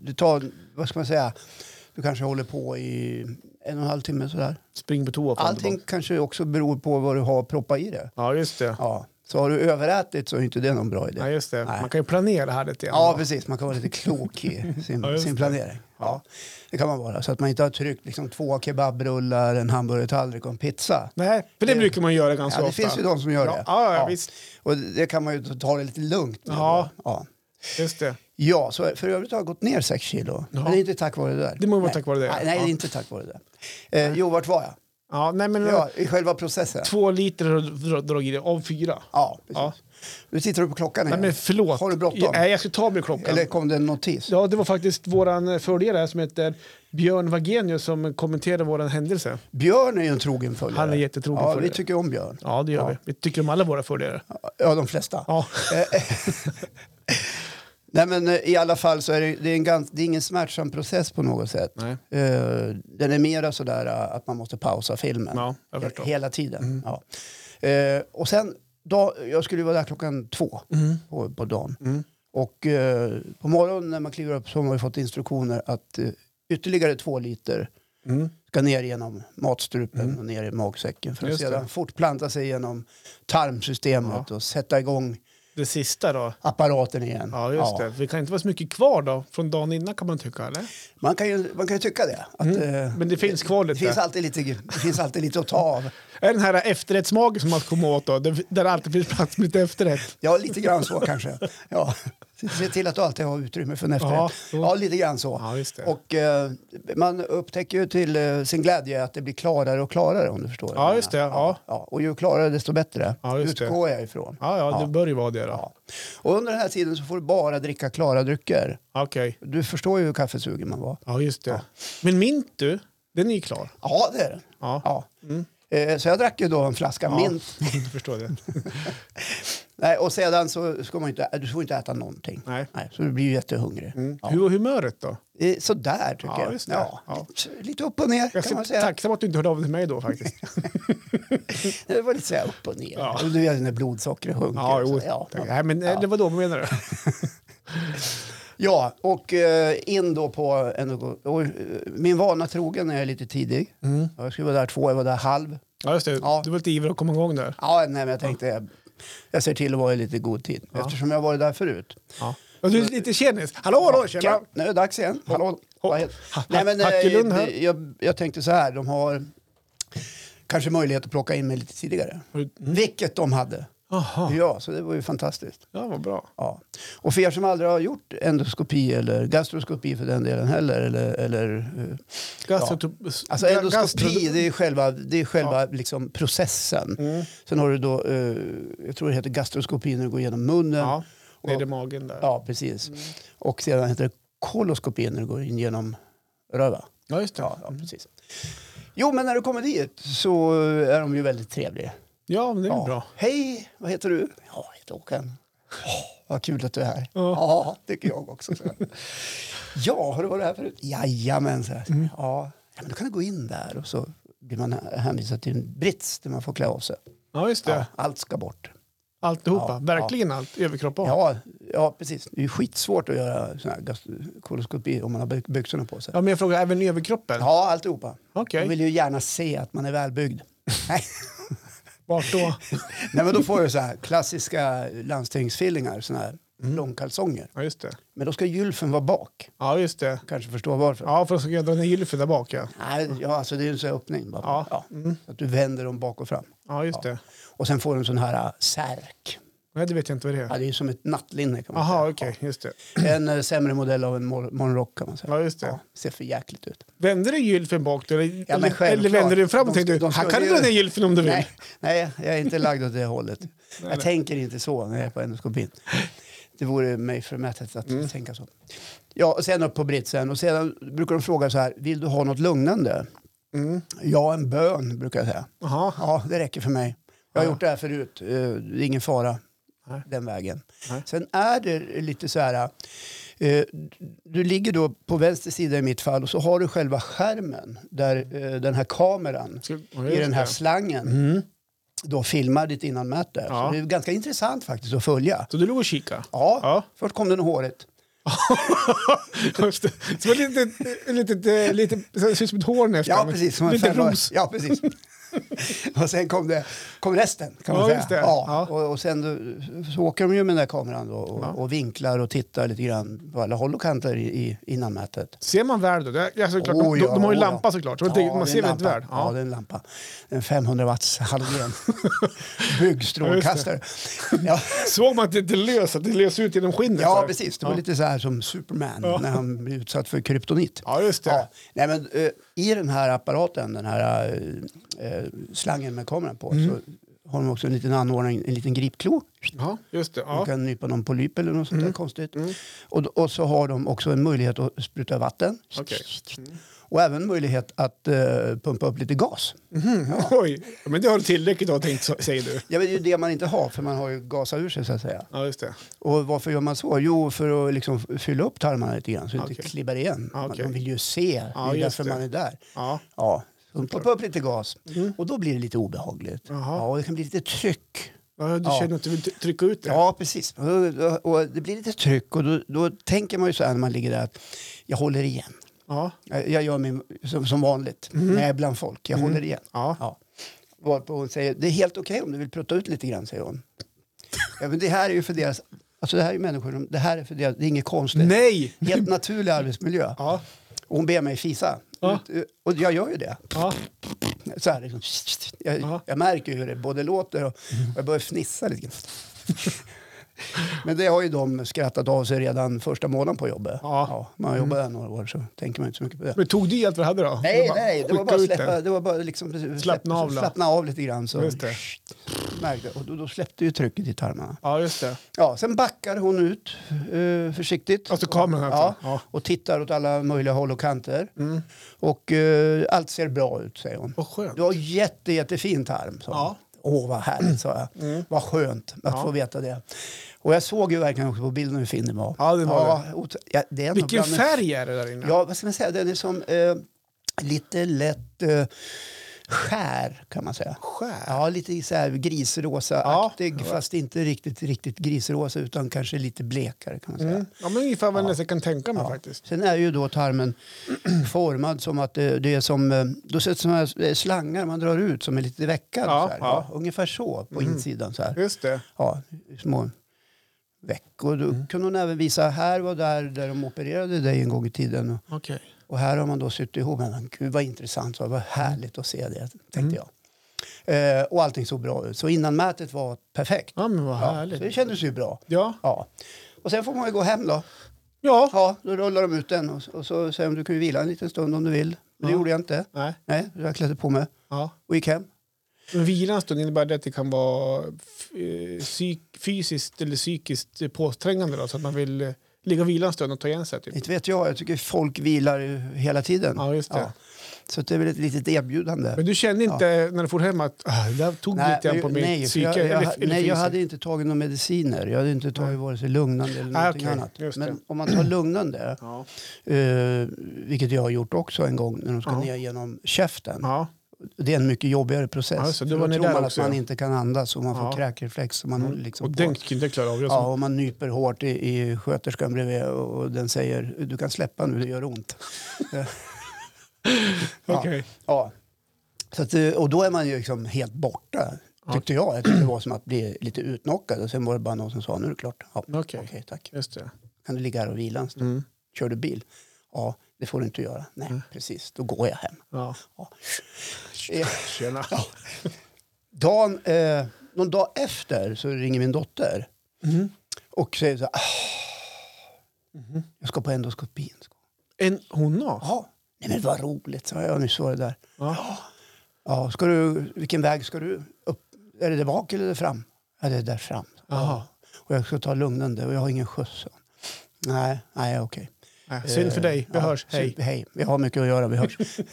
Speaker 2: Du tar, vad ska man säga, du kanske håller på i en och en halv timme sådär.
Speaker 1: Spring på toa. fram och
Speaker 2: Allting
Speaker 1: tillbaka.
Speaker 2: kanske också beror på vad du har proppat i det.
Speaker 1: Ja, just det.
Speaker 2: Ja. Så har du överätit så är inte det någon bra idé.
Speaker 1: Ja, just det.
Speaker 2: Nej.
Speaker 1: Man kan ju planera här lite grann.
Speaker 2: Ja,
Speaker 1: då.
Speaker 2: precis. Man kan vara lite klok i
Speaker 1: *laughs*
Speaker 2: sin,
Speaker 1: Ja, just
Speaker 2: sin
Speaker 1: det.
Speaker 2: planering. Ja, det kan man vara. Så att man inte har tryckt liksom, två kebabrullar, en hamburgertallrik och en pizza.
Speaker 1: Nej, för det,
Speaker 2: Det-
Speaker 1: brukar man göra ganska
Speaker 2: Ja, det
Speaker 1: ofta.
Speaker 2: finns ju de som gör
Speaker 1: ja,
Speaker 2: det.
Speaker 1: Ja, ja, visst.
Speaker 2: Och det kan man ju ta det lite lugnt med.
Speaker 1: Ja.
Speaker 2: då. Ja.
Speaker 1: Just det.
Speaker 2: Ja, så för övrigt har jag gått ner 6 kilo.
Speaker 1: Ja.
Speaker 2: Men det är inte tack vare det där.
Speaker 1: Det må vara
Speaker 2: nej.
Speaker 1: tack vare det,
Speaker 2: Nej, nej
Speaker 1: ja.
Speaker 2: det är inte tack vare det. där. Eh, jo, vart var jag?
Speaker 1: Ja, nej, men
Speaker 2: Ja, I själva processen?
Speaker 1: Mm. två liter har du dra- dragit i dig av fyra.
Speaker 2: Ja, precis.
Speaker 1: Ja.
Speaker 2: Nu tittar du på klockan
Speaker 1: Nej,
Speaker 2: igen.
Speaker 1: men förlåt.
Speaker 2: Har du bråttom?
Speaker 1: Ja, Nej, jag ska ta mig klockan.
Speaker 2: Eller kom det en notis?
Speaker 1: Ja, det var faktiskt vår följare här som heter Björn Wagenius som kommenterade vår händelse.
Speaker 2: Björn är ju en trogen följare.
Speaker 1: Han är jättetrogen
Speaker 2: ja,
Speaker 1: följare.
Speaker 2: Vi tycker om Björn.
Speaker 1: Ja, det gör vi. Vi tycker om alla våra följare.
Speaker 2: Ja, de flesta.
Speaker 1: Ja.
Speaker 2: *laughs* Nej men eh, i alla fall så är det, det, är en gans, det är ingen smärtsam process på något sätt.
Speaker 1: Nej.
Speaker 2: Eh, den är mera sådär eh, att man måste pausa filmen.
Speaker 1: Ja, jag
Speaker 2: He-
Speaker 1: förstår. Mm.
Speaker 2: Hela tiden. Ja. Eh, och sen, dag, jag skulle ju vara där klockan två
Speaker 1: Mm.
Speaker 2: på, på dagen. Och eh, på morgonen när man kliver upp så har man ju fått instruktioner att eh, ytterligare två liter
Speaker 1: Mm.
Speaker 2: ska ner genom matstrupen och ner i magsäcken för att
Speaker 1: Just det.
Speaker 2: sedan fortplanta sig genom tarmsystemet och sätta igång
Speaker 1: Det sista då?
Speaker 2: apparaten igen.
Speaker 1: Ja, just det. Det kan inte vara så mycket kvar då, från dagen innan kan man tycka, eller?
Speaker 2: Man, kan ju, man kan ju tycka det. Att, eh,
Speaker 1: Mm. Men det finns kvar
Speaker 2: det,
Speaker 1: lite.
Speaker 2: finns alltid lite, det finns alltid lite att ta av.
Speaker 1: Är den här efterrättsmagen som man kommer åt då, där där det alltid finns plats med lite efterrätt?
Speaker 2: Ja, lite grann så kanske. Ja. Se till att du alltid har utrymme för en efterrätt.
Speaker 1: Ja,
Speaker 2: Ja,
Speaker 1: så.
Speaker 2: lite grann så.
Speaker 1: Ja, just det.
Speaker 2: Och eh, man upptäcker ju till eh, sin glädje att det blir klarare och klarare om du förstår. vad
Speaker 1: Ja,
Speaker 2: jag
Speaker 1: just
Speaker 2: menar.
Speaker 1: det, ja.
Speaker 2: Och ju klarare desto bättre.
Speaker 1: Ja, just det.
Speaker 2: Utgår jag ifrån.
Speaker 1: Ja, ja, det
Speaker 2: Ja.
Speaker 1: bör ju vara det då.
Speaker 2: Ja. Och under den här tiden så får du bara dricka klara drycker.
Speaker 1: Okej.
Speaker 2: Du förstår ju hur kaffesugen man var.
Speaker 1: Ja, just det. Men mint du, den är ju klar.
Speaker 2: Ja, det är det.
Speaker 1: Ja, Mm.
Speaker 2: Ja. Eh, Så jag drack ju då en flaska
Speaker 1: Ja. *laughs*
Speaker 2: mint.
Speaker 1: jag förstår det.
Speaker 2: Nej, och sedan så ska man ju inte, du får inte äta någonting.
Speaker 1: Nej.
Speaker 2: Nej, så du blir ju jättehungrig. *laughs* Ja.
Speaker 1: Hur var humöret då?
Speaker 2: Eh, Sådär tycker
Speaker 1: Ja,
Speaker 2: jag.
Speaker 1: just det. Ja.
Speaker 2: Lite, lite upp och ner
Speaker 1: Jag
Speaker 2: kan
Speaker 1: är
Speaker 2: man
Speaker 1: så
Speaker 2: säga.
Speaker 1: tacksam att du inte hörde av dig till mig då faktiskt.
Speaker 2: Det var lite så här upp och ner.
Speaker 1: Ja.
Speaker 2: Och du vet när blodsockret sjunker.
Speaker 1: Ja,
Speaker 2: och så.
Speaker 1: jo.
Speaker 2: *laughs* ja.
Speaker 1: tack. Nej, men eh, ja. vadå, vad menar du?
Speaker 2: ja, och eh, in då på... En, och, eh, min vana trogen är jag lite tidig.
Speaker 1: Mm.
Speaker 2: Ja, Jag skulle vara där två, jag var där halv.
Speaker 1: Ja, just det.
Speaker 2: Ja.
Speaker 1: Du var lite ivrig att komma igång där.
Speaker 2: Ja, nej, men jag tänkte jag, jag ser till att vara i lite god tid eftersom jag har varit där förut.
Speaker 1: Ja. Och du är lite tjenis. Hallå, hallå, tjena!
Speaker 2: Nu är det dags igen. Hallå. Vad heter-
Speaker 1: Ha-
Speaker 2: Nej, men, eh,
Speaker 1: Hackelund här.
Speaker 2: det- jag, jag tänkte så här, de har kanske möjlighet att plocka in mig lite tidigare.
Speaker 1: Mm.
Speaker 2: Vilket de hade.
Speaker 1: Jaha,
Speaker 2: Ja, så det var ju fantastiskt.
Speaker 1: ja, vad bra.
Speaker 2: Ja. Och för er som aldrig har gjort endoskopi eller gastroskopi för den delen heller, eller, eller eh,
Speaker 1: Gastro...
Speaker 2: Alltså endoskopi, det är själva, det är själva liksom
Speaker 1: Mm.
Speaker 2: processen. Sen har du då, eh, jag tror det heter gastroskopi när du går igenom munnen.
Speaker 1: Ja,
Speaker 2: Och-
Speaker 1: nere i magen där.
Speaker 2: Ja, precis. Och sedan heter det koloskopi när du går in genom röva. Mm.
Speaker 1: Ja, just det.
Speaker 2: Ja, ja, precis. Jo, men när du kommer dit så är de ju väldigt trevliga.
Speaker 1: Ja, men det är väl
Speaker 2: Ja.
Speaker 1: bra.
Speaker 2: Hej, vad heter du? Ja, jag heter Håkan. "Åh, vad kul att du är här.
Speaker 1: Ja.
Speaker 2: Ja, tycker jag också. Så. ja, har du varit här förut? Jajamän, så här. Ja. ja, men då kan du gå in där och så blir man hänvisad till en brits där man får klä av sig.
Speaker 1: Ja, just det.
Speaker 2: Ja, allt ska bort.
Speaker 1: Alltihopa.
Speaker 2: Ja,
Speaker 1: Verkligen allt. Överkropp av. Ja.
Speaker 2: Ja, ja, precis. Det är ju skitsvårt att göra sån här gast- koloskopi om man har by- byxorna på sig.
Speaker 1: men jag frågar även överkroppen?
Speaker 2: Ja, alltihopa.
Speaker 1: Okej,
Speaker 2: Jag vill ju gärna se att man
Speaker 1: *laughs*
Speaker 2: är välbyggd. Nej.
Speaker 1: vart då?
Speaker 2: Nej, men då får du så här klassiska landstingsfillingar, såna här
Speaker 1: Mm.
Speaker 2: långkalsonger.
Speaker 1: Ja, just det.
Speaker 2: Men då ska gylfen vara bak.
Speaker 1: Ja, just det.
Speaker 2: Kanske förstår varför.
Speaker 1: Ja, för att jag dra ner gylfen där bak. Ja,
Speaker 2: Nej, ja, alltså det är ju en sån här öppning. Bara.
Speaker 1: Ja. Mm.
Speaker 2: Så att du vänder dem bak och fram.
Speaker 1: ja just det.
Speaker 2: Och sen får du en sån här äh, särk.
Speaker 1: Nej, det vet jag inte vad det
Speaker 2: Ja,
Speaker 1: är.
Speaker 2: det är ju som ett nattlinne kan man
Speaker 1: Jaha,
Speaker 2: säga.
Speaker 1: okej. Just det.
Speaker 2: Ja. En äh, sämre modell av en mor- morgonrock kan man säga.
Speaker 1: Ja, just det.
Speaker 2: ser för jäkligt ut.
Speaker 1: Vände du gylfen bak då? Eller,
Speaker 2: men
Speaker 1: eller- eller
Speaker 2: självklart.
Speaker 1: vände du den fram och
Speaker 2: De-
Speaker 1: tänkte du,
Speaker 2: de
Speaker 1: här
Speaker 2: skulle
Speaker 1: kan du
Speaker 2: ju-
Speaker 1: dra ner gylfen om du vill?
Speaker 2: Nej, nej, jag är inte lagd åt det hållet. jag
Speaker 1: nej.
Speaker 2: tänker inte så när jag är på endoskopin. Det vore mig förmätet att
Speaker 1: Mm.
Speaker 2: tänka så. Ja, och sen upp på britsen och sedan brukar de fråga så här, vill du ha något lugnande?
Speaker 1: Mm.
Speaker 2: Ja, en bön brukar jag säga.
Speaker 1: Jaha.
Speaker 2: Ja, det räcker för mig. Jag har
Speaker 1: Ja.
Speaker 2: gjort det här förut. Eh, Det är ingen fara
Speaker 1: Nej.
Speaker 2: den vägen.
Speaker 1: Nej.
Speaker 2: Sen är det lite så här. eh, Du ligger då på vänster sida i mitt fall och så har du själva skärmen där eh, den här kameran
Speaker 1: Ska- ja,
Speaker 2: i
Speaker 1: just
Speaker 2: den här
Speaker 1: det. Mm.
Speaker 2: slangen då filmar ditt innanmäte.
Speaker 1: Ja.
Speaker 2: Så det är ganska intressant faktiskt att följa.
Speaker 1: Så du låg och kikade?
Speaker 2: Ja,
Speaker 1: Ja.
Speaker 2: först kom den i håret.
Speaker 1: *laughs* Just det. Så ett litet, ett litet, eh, lite, så det ser ut som ett horn efter.
Speaker 2: Ja,
Speaker 1: men
Speaker 2: precis. Som en
Speaker 1: lite
Speaker 2: färgblad-
Speaker 1: ros.
Speaker 2: Ja,
Speaker 1: *laughs*
Speaker 2: precis. och sen kom, det, kom resten, kan man
Speaker 1: Ja,
Speaker 2: säga.
Speaker 1: just det. Ja.
Speaker 2: Och, och sen då, så åker de ju med den där kameran då, och,
Speaker 1: Ja.
Speaker 2: och vinklar och tittar lite grann på alla håll och kanter i, i innanmätet.
Speaker 1: Ser man väl då? Det är, alltså, klart,
Speaker 2: Oh,
Speaker 1: de, de,
Speaker 2: ja,
Speaker 1: de har ju
Speaker 2: oh, ja.
Speaker 1: lampa såklart, så man,
Speaker 2: Ja,
Speaker 1: tänker-
Speaker 2: det är
Speaker 1: man
Speaker 2: en
Speaker 1: ser väldigt
Speaker 2: lampa.
Speaker 1: väl.
Speaker 2: Ja. det är en lampa. En 500
Speaker 1: *laughs*
Speaker 2: watts halogen. Byggstrålkastare. ja.
Speaker 1: Såg man att det, det lös, att det lös ut genom skinnet?
Speaker 2: Ja,
Speaker 1: där?
Speaker 2: precis. Det var
Speaker 1: Ja.
Speaker 2: lite så här som Superman
Speaker 1: Ja.
Speaker 2: när han blev utsatt för kryptonit.
Speaker 1: Ja, just det.
Speaker 2: Ja. Nej, men, eh, I den här apparaten, den här
Speaker 1: Mm.
Speaker 2: eh, eh, slangen med kameran på, så har de också en liten anordning, en liten gripklo
Speaker 1: Ja, just det.
Speaker 2: De
Speaker 1: Ja.
Speaker 2: kan nypa någon polyp eller något sånt där konstigt.
Speaker 1: Mm.
Speaker 2: Och, d- och så har de också en möjlighet att spruta vatten.
Speaker 1: Okej. Mm.
Speaker 2: Och även möjlighet att eh, pumpa upp lite gas.
Speaker 1: Oj, men det har du tillräckligt av tänkt, så- säger du.
Speaker 2: Ja, men det är ju det man inte har, för man har ju gasat ur sig så att säga.
Speaker 1: Ja, just det.
Speaker 2: Och varför gör man så? Jo, för att liksom fylla upp tarmarna lite grann så det inte
Speaker 1: Okej.
Speaker 2: klibbar igen.
Speaker 1: Ja, okej.
Speaker 2: Man vill ju se,
Speaker 1: Ja,
Speaker 2: det är
Speaker 1: just
Speaker 2: därför
Speaker 1: det.
Speaker 2: man är där.
Speaker 1: Ja,
Speaker 2: Ja, så de pumpar upp lite gas och då blir det lite obehagligt.
Speaker 1: Jaha.
Speaker 2: Ja, och det kan bli lite tryck.
Speaker 1: ja du
Speaker 2: Ja.
Speaker 1: känner att du vill t- trycka ut det?
Speaker 2: Ja, precis. Och- Och det blir lite tryck och då, då tänker man ju så här när man ligger där att jag håller igen.
Speaker 1: Ja.
Speaker 2: Jag jag gör min, som, som vanligt när jag är bland folk. Jag håller igen.
Speaker 1: Mhm. ja.
Speaker 2: Ja. Varpå hon säger, det är helt okej om du vill prutta ut lite grann, säger hon. Ja, men det här är ju för deras, alltså det här är ju människor, som- det här är för deras, det är inget konstigt.
Speaker 1: Nej!
Speaker 2: Helt naturlig arbetsmiljö.
Speaker 1: Ja.
Speaker 2: Och hon ber mig fisa.
Speaker 1: Ja.
Speaker 2: Och jag gör ju det.
Speaker 1: Ja.
Speaker 2: Så här, liksom, jag,
Speaker 1: Ja.
Speaker 2: jag märker ju hur det både låter och, och jag börjar fnissa lite grann. *laughs* Men det har ju de skrattat av sig redan första månaden på jobbet.
Speaker 1: Ja. Mm.
Speaker 2: man har jobbat där några år så tänker man inte så mycket på det.
Speaker 1: Men tog du i allt vad du hade då?
Speaker 2: Nej,
Speaker 1: Du bara
Speaker 2: nej, det var
Speaker 1: skicka
Speaker 2: bara,
Speaker 1: ut
Speaker 2: släppa,
Speaker 1: den.
Speaker 2: det var bara liksom, släpp-
Speaker 1: Slappna av då.
Speaker 2: slappna av lite grann. Så,
Speaker 1: Just det.
Speaker 2: märkte, och då, då släppte ju trycket i tarmarna.
Speaker 1: Ja, just det.
Speaker 2: Ja, sen backar hon ut eh, försiktigt.
Speaker 1: Alltså kameran
Speaker 2: ja,
Speaker 1: alltså? Ja.
Speaker 2: Och tittar åt alla möjliga håll och kanter.
Speaker 1: Mm.
Speaker 2: Och eh, allt ser bra ut, säger hon.
Speaker 1: Vad skönt.
Speaker 2: Du har jätte, jättefin tarm, sa hon.
Speaker 1: Ja. Mm.
Speaker 2: Åh, vad härligt, sa jag. Vad skönt att
Speaker 1: Ja.
Speaker 2: få veta det. Och jag såg ju verkligen också på bilden hur fin den var.
Speaker 1: Ja, den var
Speaker 2: ja, ot- ja, det är ändå
Speaker 1: Vilken
Speaker 2: bland-
Speaker 1: färg är det där inne?
Speaker 2: Ja, vad ska man säga? Den är som eh, lite lätt eh, skär, kan man säga.
Speaker 1: Skär.
Speaker 2: Ja, lite så här grisrosa-aktig, fast inte riktigt, riktigt grisrosa utan kanske lite blekare kan man säga.
Speaker 1: Mm. Ja, men ungefär vad jag nästan kan tänka mig faktiskt.
Speaker 2: Sen är ju då tarmen *clears throat* formad som att det, det är som, eh, då sätts såna här eh, slangar man drar ut som är lite veckade.
Speaker 1: Ja,
Speaker 2: så här.
Speaker 1: ja. Mm.
Speaker 2: ungefär så på insidan. Så här.
Speaker 1: Just det.
Speaker 2: Ja, små veck. Och då
Speaker 1: Mm.
Speaker 2: kunde hon även visa, här var där, där de opererade dig en gång i tiden. Och
Speaker 1: Okej.
Speaker 2: och här har man då suttit ihop. Men gud vad intressant, vad vad härligt att se det, tänkte
Speaker 1: Mm.
Speaker 2: jag. Eh, och allting såg bra ut. Så innanmätet var perfekt.
Speaker 1: Ja, men vad
Speaker 2: Ja,
Speaker 1: härligt.
Speaker 2: så det kändes ju bra.
Speaker 1: Ja.
Speaker 2: Ja. Och sen får man ju gå hem då.
Speaker 1: Ja.
Speaker 2: Ja, då rullar de ut den och, och så säger de du kan ju vila en liten stund om du vill. Men det
Speaker 1: Ja.
Speaker 2: gjorde jag inte.
Speaker 1: Nej.
Speaker 2: Nej, jag klädde på mig
Speaker 1: Ja.
Speaker 2: och gick hem.
Speaker 1: Men vila en stund innebär det att det kan vara f- eh, psyk- fysiskt eller psykiskt påträngande då, så att man vill eh, ligga och vila en stund och ta igen sig? Typ.
Speaker 2: Inte vet jag, jag tycker folk vilar ju hela tiden.
Speaker 1: Ja, just det.
Speaker 2: Så det är väl ett litet erbjudande.
Speaker 1: Men du kände inte när du for hem att ah, det där tog lite grann på
Speaker 2: men-
Speaker 1: min
Speaker 2: nej, för
Speaker 1: psyke?
Speaker 2: Jag, jag,
Speaker 1: eller, eller
Speaker 2: nej, jag
Speaker 1: fysen?
Speaker 2: hade inte tagit några mediciner. Jag hade inte tagit vare sig lugnande eller
Speaker 1: Ah,
Speaker 2: någonting
Speaker 1: okej,
Speaker 2: annat.
Speaker 1: just
Speaker 2: Men
Speaker 1: det.
Speaker 2: om man tar lugnande,
Speaker 1: Ja.
Speaker 2: eh, vilket jag har gjort också en gång när de ska
Speaker 1: Ja.
Speaker 2: ner genom käften.
Speaker 1: Ja.
Speaker 2: Det är en mycket jobbigare process.
Speaker 1: Ja, så det
Speaker 2: För
Speaker 1: var
Speaker 2: då
Speaker 1: ni
Speaker 2: tror
Speaker 1: där
Speaker 2: man
Speaker 1: också,
Speaker 2: att man
Speaker 1: ja.
Speaker 2: inte kan andas och man får
Speaker 1: Ja. Mm.
Speaker 2: kräkreflex. Och man håller liksom
Speaker 1: Och
Speaker 2: på.
Speaker 1: den kunde jag klara av. Jag
Speaker 2: Ja,
Speaker 1: sa,
Speaker 2: och man nyper hårt i, i sköterskan bredvid och och den säger du kan släppa nu, det gör ont. ja.
Speaker 1: okej.
Speaker 2: Ja. Så att, eh, och då är man ju liksom helt borta, tyckte jag. Jag tyckte det var som att bli lite utnockad. Och sen var det bara någon som sa, nu är det klart. Ja,
Speaker 1: Okej.
Speaker 2: tack.
Speaker 1: Just det.
Speaker 2: Kan du ligga här och vila en stund?
Speaker 1: Mm.
Speaker 2: Kör du bil? Ja, det får du inte göra. Nej, precis. Då går jag hem.
Speaker 1: Ja.
Speaker 2: Ja.
Speaker 1: Tjena.
Speaker 2: Dagen, eh, någon dag efter så ringer min dotter
Speaker 1: Mhm.
Speaker 2: och säger så här. "Ah,
Speaker 1: Mm-hmm.
Speaker 2: Jag ska på endoskopin.
Speaker 1: En hona?
Speaker 2: Ja, nej men vad roligt, sa jag. Jag nyss var det där.
Speaker 1: Ja.
Speaker 2: Ja, ska du, vilken väg ska du upp? Är det där bak eller där fram? Ja, det är där fram.
Speaker 1: Aha.
Speaker 2: Och jag ska ta lugnande och jag har ingen skjuts. sa hon. Nej, nej okej.
Speaker 1: Nej, synd för dig. Vi
Speaker 2: Eh, Ja,
Speaker 1: hörs.
Speaker 2: synd-
Speaker 1: Hej.
Speaker 2: Hej, vi har mycket att göra, vi hörs.
Speaker 1: *laughs*
Speaker 2: nej,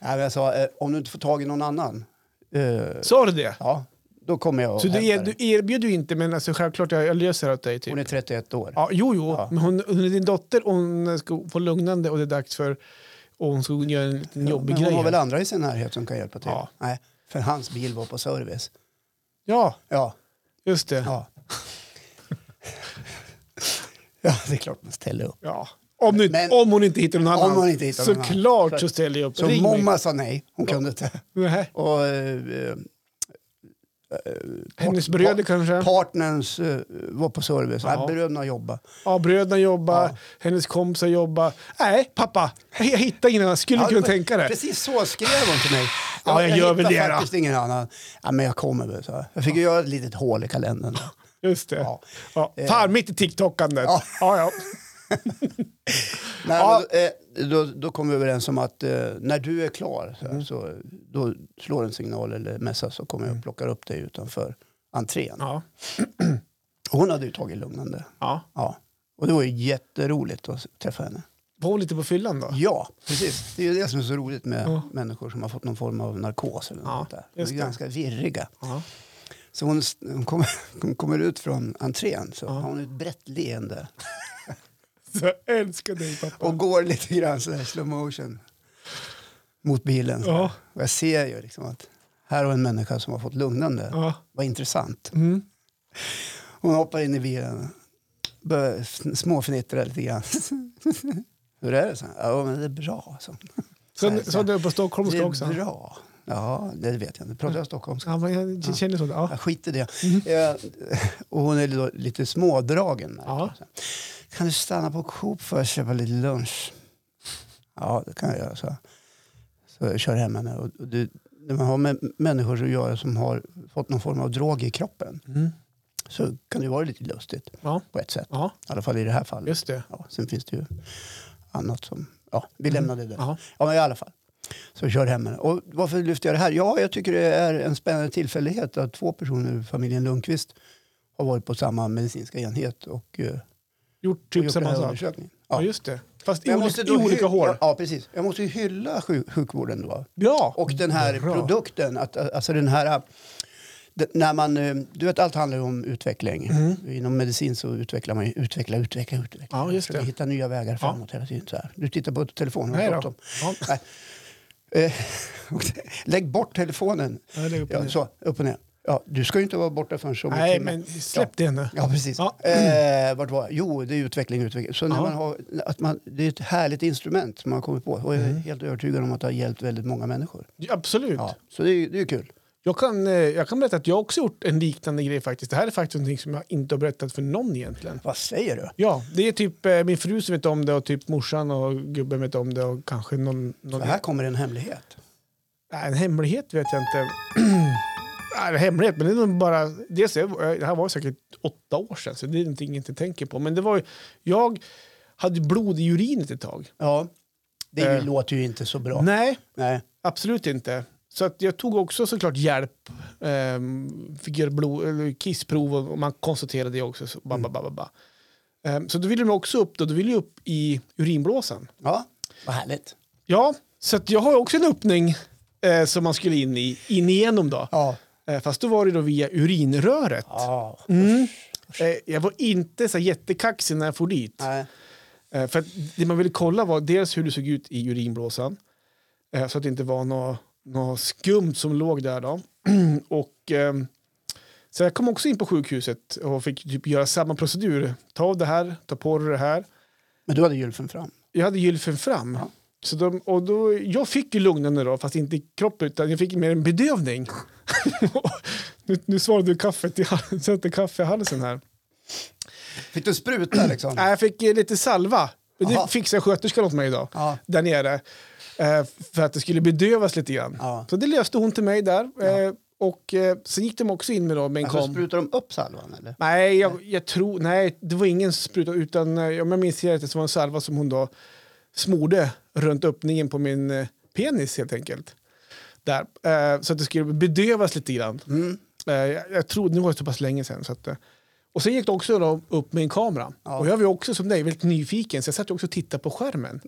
Speaker 2: men jag sa, eh, om du inte får tag i någon annan, eh,
Speaker 1: Sa du det?
Speaker 2: ja, då kommer jag och
Speaker 1: Så du,
Speaker 2: hämtar
Speaker 1: er, du
Speaker 2: dig.
Speaker 1: erbjöd ju inte, men alltså, självklart jag, jag löser det åt dig. Typ.
Speaker 2: Hon är 31 år.
Speaker 1: Ja, jo, jo.
Speaker 2: Ja.
Speaker 1: Men hon, hon är din dotter och hon ska få lugnande och det är dags för... Och hon ska göra en liten jobbig
Speaker 2: men hon
Speaker 1: grej.
Speaker 2: har väl
Speaker 1: här.
Speaker 2: andra i sin närhet som kan hjälpa till?
Speaker 1: Ja.
Speaker 2: Nej, för hans bil var på service.
Speaker 1: Ja,
Speaker 2: Ja,
Speaker 1: just det. Ja. *laughs*
Speaker 2: ja. ja, det är klart man ställer upp.
Speaker 1: Om, du,
Speaker 2: Men-
Speaker 1: om hon inte hittar någon
Speaker 2: Om
Speaker 1: annan.
Speaker 2: hon inte hittar någon annan.
Speaker 1: Såklart så ställer jag upp.
Speaker 2: Så
Speaker 1: Ring
Speaker 2: mamma sa nej, hon kunde inte.
Speaker 1: mig. Nej.
Speaker 2: Och, eh, eh,
Speaker 1: Hennes bröder kanske?
Speaker 2: partners eh, var på service,
Speaker 1: Ja.
Speaker 2: ja. bröderna jobbade.
Speaker 1: Ja, bröderna jobbar,
Speaker 2: Ja.
Speaker 1: hennes kompisar jobbar. Nej, pappa, jag hittar ingen annan. Skulle
Speaker 2: Ja,
Speaker 1: kunna
Speaker 2: var-
Speaker 1: tänka det.
Speaker 2: Precis så skrev hon till mig.
Speaker 1: Ja, jag gör väl
Speaker 2: hittar
Speaker 1: det då.
Speaker 2: faktiskt ingen annan. Ja, men jag kommer väl, så. Jag fick ju göra ett litet hål i kalendern.
Speaker 1: Just det. Ja.
Speaker 2: Ja. Eh.
Speaker 1: Fan, mitt i TikTokandet. Ja.
Speaker 2: Ja.
Speaker 1: Ja, ja.
Speaker 2: Nej,
Speaker 1: Ja.
Speaker 2: men, då, eh, då, då kom vi överens om att eh, när du
Speaker 1: Mm.
Speaker 2: är klar så, så då slår en signal eller messar så kommer jag och plockar upp dig utanför entrén.
Speaker 1: Ja.
Speaker 2: Och Hon hade ju tagit lugnande.
Speaker 1: ja.
Speaker 2: Ja. Och det var ju jätteroligt att träffa henne.
Speaker 1: Var hon lite på fyllan då?
Speaker 2: Ja, precis. Det är ju det som är så roligt med
Speaker 1: Ja.
Speaker 2: människor som har fått någon form av narkos eller något
Speaker 1: Ja,
Speaker 2: sånt där. De är
Speaker 1: just det.
Speaker 2: ganska virriga.
Speaker 1: Ja.
Speaker 2: Så hon, hon, kommer, *laughs* hon kommer ut från entrén så
Speaker 1: Ja.
Speaker 2: har hon ett brett leende
Speaker 1: Så jag älskar dig pappa.
Speaker 2: och går lite grann så här slow motion mot bilen. så här.
Speaker 1: Ja.
Speaker 2: Och jag ser ju liksom att här har en människa som har fått lugnande.
Speaker 1: Ja.
Speaker 2: Vad intressant.
Speaker 1: Mm.
Speaker 2: Hon hoppar in i bilen börjar sn- småfnittra lite grann. *laughs* Hur är det? Så? Ja, men det är bra. Så.
Speaker 1: Så, så du är på stockholmska
Speaker 2: Det
Speaker 1: också?
Speaker 2: är bra. Ja, det vet jag inte. Pratar jag stockholmska?
Speaker 1: Ja, men jag känner så.
Speaker 2: Ja,
Speaker 1: Ja.
Speaker 2: skit i det. Eh, och hon är då lite smådragen. märker
Speaker 1: Mm-hmm. Ja.
Speaker 2: jag. Kan du stanna på Coop för att köpa lite lunch? Ja, det kan jag göra. Så, så jag kör hem henne. Och och det, när man har med människor att göra som har fått någon form av drog i kroppen
Speaker 1: Mm.
Speaker 2: så kan det vara lite lustigt
Speaker 1: Ja.
Speaker 2: på ett sätt.
Speaker 1: ja,
Speaker 2: I alla fall i det här fallet.
Speaker 1: just det.
Speaker 2: Ja, sen finns det ju annat som... Ja, vi lämnar det där.
Speaker 1: Ja.
Speaker 2: Ja, men i alla fall. Så kör hem henne. Och varför lyfter jag det här? Ja, jag tycker det är en spännande tillfällighet att två personer ur familjen Lundqvist har varit på samma medicinska enhet och, eh,
Speaker 1: Gjort
Speaker 2: och
Speaker 1: typ samma sak. Ja.
Speaker 2: undersökningen. Ja.
Speaker 1: just det. Fast i
Speaker 2: Men jag
Speaker 1: olika,
Speaker 2: måste
Speaker 1: i
Speaker 2: då
Speaker 1: olika
Speaker 2: hy-
Speaker 1: hår.
Speaker 2: Ja, precis. Jag måste ju hylla sjuk- sjukvården då.
Speaker 1: Ja.
Speaker 2: Och den här
Speaker 1: Bra.
Speaker 2: produkten, att, alltså den här... det- När man, eh, du vet, allt handlar ju om utveckling. Inom medicin så utvecklar man ju, utveckla, utveckla, utveckla.
Speaker 1: Mm. Ja, just
Speaker 2: Försöker
Speaker 1: det.
Speaker 2: hitta nya vägar framåt hela tiden. Så här. Du tittar på telefonen.
Speaker 1: Nej
Speaker 2: och
Speaker 1: då.
Speaker 2: pratar
Speaker 1: Ja.
Speaker 2: om- Eh, och det- Lägg bort telefonen.
Speaker 1: Ja, det är upp och
Speaker 2: Ja,
Speaker 1: ner.
Speaker 2: så, upp och ner. Ja, du ska ju inte vara borta förrän om en
Speaker 1: Nej,
Speaker 2: timme.
Speaker 1: men släpp det nu.
Speaker 2: Ja, precis.
Speaker 1: Ja.
Speaker 2: Eh, vart var jag? Jo, det är utveckling, utveckling. Så när
Speaker 1: Ja.
Speaker 2: man har, att man, det är ett härligt instrument som man har kommit på. Och jag
Speaker 1: Mm.
Speaker 2: är helt övertygad om att det har hjälpt väldigt många människor.
Speaker 1: Ja, Absolut.
Speaker 2: Ja, så det är, ju- det är ju kul.
Speaker 1: Jag, kan, eh, jag kan berätta att jag också gjort en liknande grej faktiskt. Det här är faktiskt någonting som jag inte har berättat för någon egentligen.
Speaker 2: Vad säger du?
Speaker 1: Ja, det är typ eh, min fru som vet om det och typ morsan och gubben vet om det och kanske någon... någon
Speaker 2: Så här kommer en hemlighet.
Speaker 1: Nej, en hemlighet vet jag inte. *clears throat* Nej, en hemlighet, men det är nog bara... Dels, är- det här var säkert åtta år sedan så det är någonting jag inte tänker på. Men det var ju... Jag hade blod i urinet ett tag.
Speaker 2: Ja, det är ju,
Speaker 1: Eh.
Speaker 2: låter ju inte så bra.
Speaker 1: Nej,
Speaker 2: Nej.
Speaker 1: Absolut inte. Så att jag tog också såklart hjälp. Ehm, fick göra blod, eller kissprov och och man konstaterade det också. Så, ba, ba, ba, ba, ba. Ehm, så då ville de också upp, då, då ville jag upp i urinblåsan.
Speaker 2: Ja, vad härligt.
Speaker 1: Ja, så att jag har också en öppning eh, som man skulle in, i, in igenom då.
Speaker 2: Ja.
Speaker 1: Eh, fast då var det då via urinröret.
Speaker 2: ja.
Speaker 1: Eh, jag var inte så här jättekaxig när jag for dit.
Speaker 2: Nej.
Speaker 1: Eh, För att det man ville kolla var dels hur det såg ut i urinblåsan, eh, så att det inte var något, något skumt som låg där. Då. *clears throat* och, eh, så jag kom också in på sjukhuset och fick typ göra samma procedur. Ta av det här, ta på dig det här.
Speaker 2: Men du hade gylfen fram.
Speaker 1: Jag hade gylfen fram.
Speaker 2: Ja.
Speaker 1: Så de, och då, jag fick ju lugnande då, fast inte i kroppen, utan jag fick mer en
Speaker 2: *laughs*
Speaker 1: bedövning. nu, nu svarade du kaffet i, hal- *laughs* sätter kaffe i halsen här.
Speaker 2: Fick du spruta liksom?
Speaker 1: Nej, jag fick eh, lite salva. Men
Speaker 2: Aha.
Speaker 1: Det fixade sköterskan åt mig idag.
Speaker 2: Ja.
Speaker 1: där nere eh, för att det skulle bedövas lite grann.
Speaker 2: Ja.
Speaker 1: Så det löste hon till mig där. Eh, och eh, sen gick de också in med då, men
Speaker 2: Alltså,
Speaker 1: kom.
Speaker 2: sprutar de upp salvan eller?
Speaker 1: Nej, jag, jag tror, nej, det var ingen spruta utan eh, om jag minns rätt så var det en salva som hon då smorde runt öppningen på min eh, penis helt enkelt. Där. Eh, så att det skulle bedövas lite grann.
Speaker 2: Mm.
Speaker 1: Eh, jag, jag tror, nu var det så pass länge sedan. Så att, eh, och sen gick det också då upp med en kamera.
Speaker 2: Ja.
Speaker 1: Och jag var ju också som dig väldigt nyfiken så jag satt ju också och tittade på skärmen.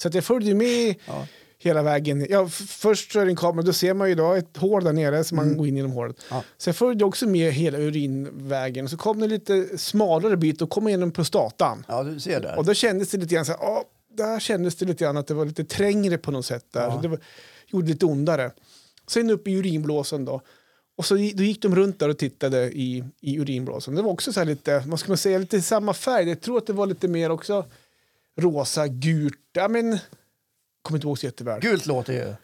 Speaker 1: så att jag följde ju med
Speaker 2: Ja.
Speaker 1: hela vägen. Ja, f- först så är det en kamera, då ser man ju då ett hål där nere så man går in genom hålet.
Speaker 2: Mm. Ja.
Speaker 1: Så jag följde också med hela urinvägen. Och Så kom det en lite smalare bit och kom jag igenom prostatan.
Speaker 2: Ja, du ser där.
Speaker 1: Och då kändes det lite grann så här, ja, där kändes det lite grann att det var lite trängre på något sätt där.
Speaker 2: Ja.
Speaker 1: Så det var, gjorde lite ondare. Sen upp i urinblåsan då. Och så gi- då gick de runt där och tittade i, i urinblåsan. Det var också så här lite, vad ska man säga, lite samma färg. Jag tror att det var lite mer också rosa, gult. Ja men, kommer inte ihåg så jätteväl.
Speaker 2: Gult låter ju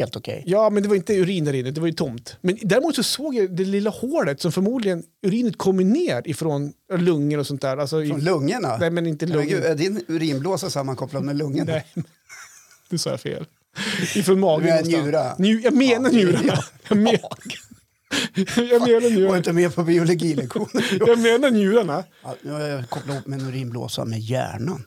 Speaker 2: helt okej.
Speaker 1: Ja, men det var inte urin där inne, det var ju tomt. Men däremot så såg jag det lilla hålet som förmodligen urinet kommer ner ifrån lungor och sånt där. Alltså,
Speaker 2: Från
Speaker 1: i,
Speaker 2: lungorna?
Speaker 1: nej, men inte
Speaker 2: Men
Speaker 1: lungor.
Speaker 2: gud, är din urinblåsa sammankopplad med
Speaker 1: *laughs*
Speaker 2: lungorna?
Speaker 1: Nej, *laughs* du sa jag fel. Ifrån magen
Speaker 2: Du menar
Speaker 1: någonstans.
Speaker 2: njura.
Speaker 1: Nju, jag menar
Speaker 2: Ja,
Speaker 1: njurarna.
Speaker 2: ja.
Speaker 1: Jag, men, *laughs* jag menar
Speaker 2: Var
Speaker 1: njurarna.
Speaker 2: inte med på biologilektionen. *laughs*
Speaker 1: Jag menar njurarna.
Speaker 2: Ja, nu har jag kopplat ihop min urinblåsa med hjärnan.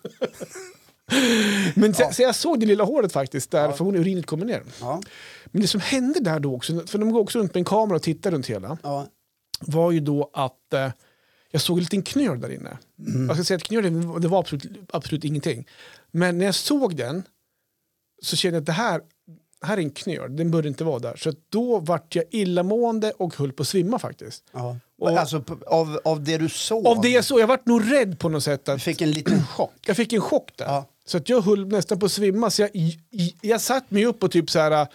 Speaker 1: Men så, så jag såg det lilla hålet faktiskt, där förmodligen urinet kommer ner.
Speaker 2: Ja,
Speaker 1: Men det som hände där då också, för de går också runt med en kamera och tittar runt hela.
Speaker 2: ja.
Speaker 1: var ju då att eh, jag såg en liten knöl där inne. Jag ska säga att knölen det var absolut, absolut ingenting. Men när jag såg den så kände jag att det här, här är en knöl, den bör inte vara där. Så att då vart jag illamående och höll på att svimma faktiskt.
Speaker 2: Ja.
Speaker 1: Och-
Speaker 2: alltså p- av, av det du såg?
Speaker 1: Av det jag såg, jag vart nog rädd på något sätt.
Speaker 2: Du
Speaker 1: Att
Speaker 2: fick
Speaker 1: *clears throat*
Speaker 2: en liten chock?
Speaker 1: jag fick en chock där.
Speaker 2: Ja.
Speaker 1: Så att jag höll nästan på att svimma. Så jag, i- i- jag satt mig upp och typ så här, äh,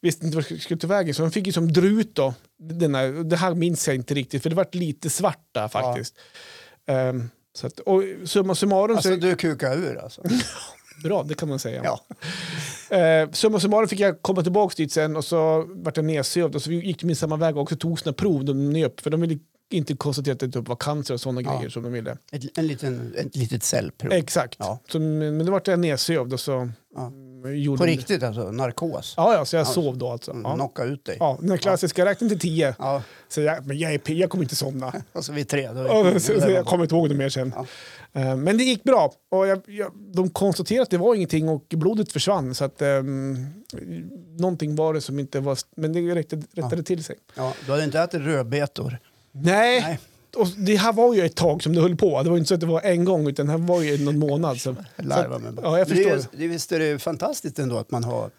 Speaker 1: visste inte vart jag skulle ta vägen. Så de fick ju som dra ut då. Den här, det här minns jag inte riktigt för det vart lite svart där faktiskt. Ehm, så att, och summa summarum så
Speaker 2: Alltså du kukade
Speaker 1: *laughs*
Speaker 2: ur alltså?
Speaker 1: bra, det kan man säga.
Speaker 2: Ja.
Speaker 1: Eh, summa summarum fick jag komma tillbaka dit sen och så vart jag nedsövd och så gick de min samma väg och så tog sina prov, de nöp, för de ville inte konstatera att det typ var cancer och sådana
Speaker 2: Ja.
Speaker 1: grejer som de ville.
Speaker 2: Ett, en liten, ett litet cellprov?
Speaker 1: Exakt,
Speaker 2: Ja.
Speaker 1: så, men men då vart jag nedsövd och så
Speaker 2: Ja.
Speaker 1: mm, gjorde
Speaker 2: På
Speaker 1: de-
Speaker 2: riktigt alltså? Narkos?
Speaker 1: Ja, ja, så jag
Speaker 2: Ja.
Speaker 1: sov då alltså.
Speaker 2: Mm,
Speaker 1: Ja.
Speaker 2: Knocka ut dig?
Speaker 1: Ja, den klassiska, jag räknar till tio.
Speaker 2: Ja. *laughs*
Speaker 1: Så jag, men jag är pigg, jag kommer inte somna.
Speaker 2: Och så vi tre. Då
Speaker 1: Och så, så jag kommer inte ihåg det mer sen.
Speaker 2: Ja.
Speaker 1: Eh, Men det gick bra. Och jag, jag, de konstaterade att det var ingenting och blodet försvann. Så att, um, någonting var det som inte var... Men det räckte, rättade till sig.
Speaker 2: ja, du hade inte ätit rödbetor?
Speaker 1: Nej.
Speaker 2: Nej.
Speaker 1: Och det här var ju ett tag som det höll på. Det var ju inte så att det var en gång, utan det här var ju någon månad. Så.
Speaker 2: Larva mig
Speaker 1: Så att-
Speaker 2: bara.
Speaker 1: ja, jag
Speaker 2: Men
Speaker 1: förstår.
Speaker 2: Det, är- det, visst är det fantastiskt ändå att man har,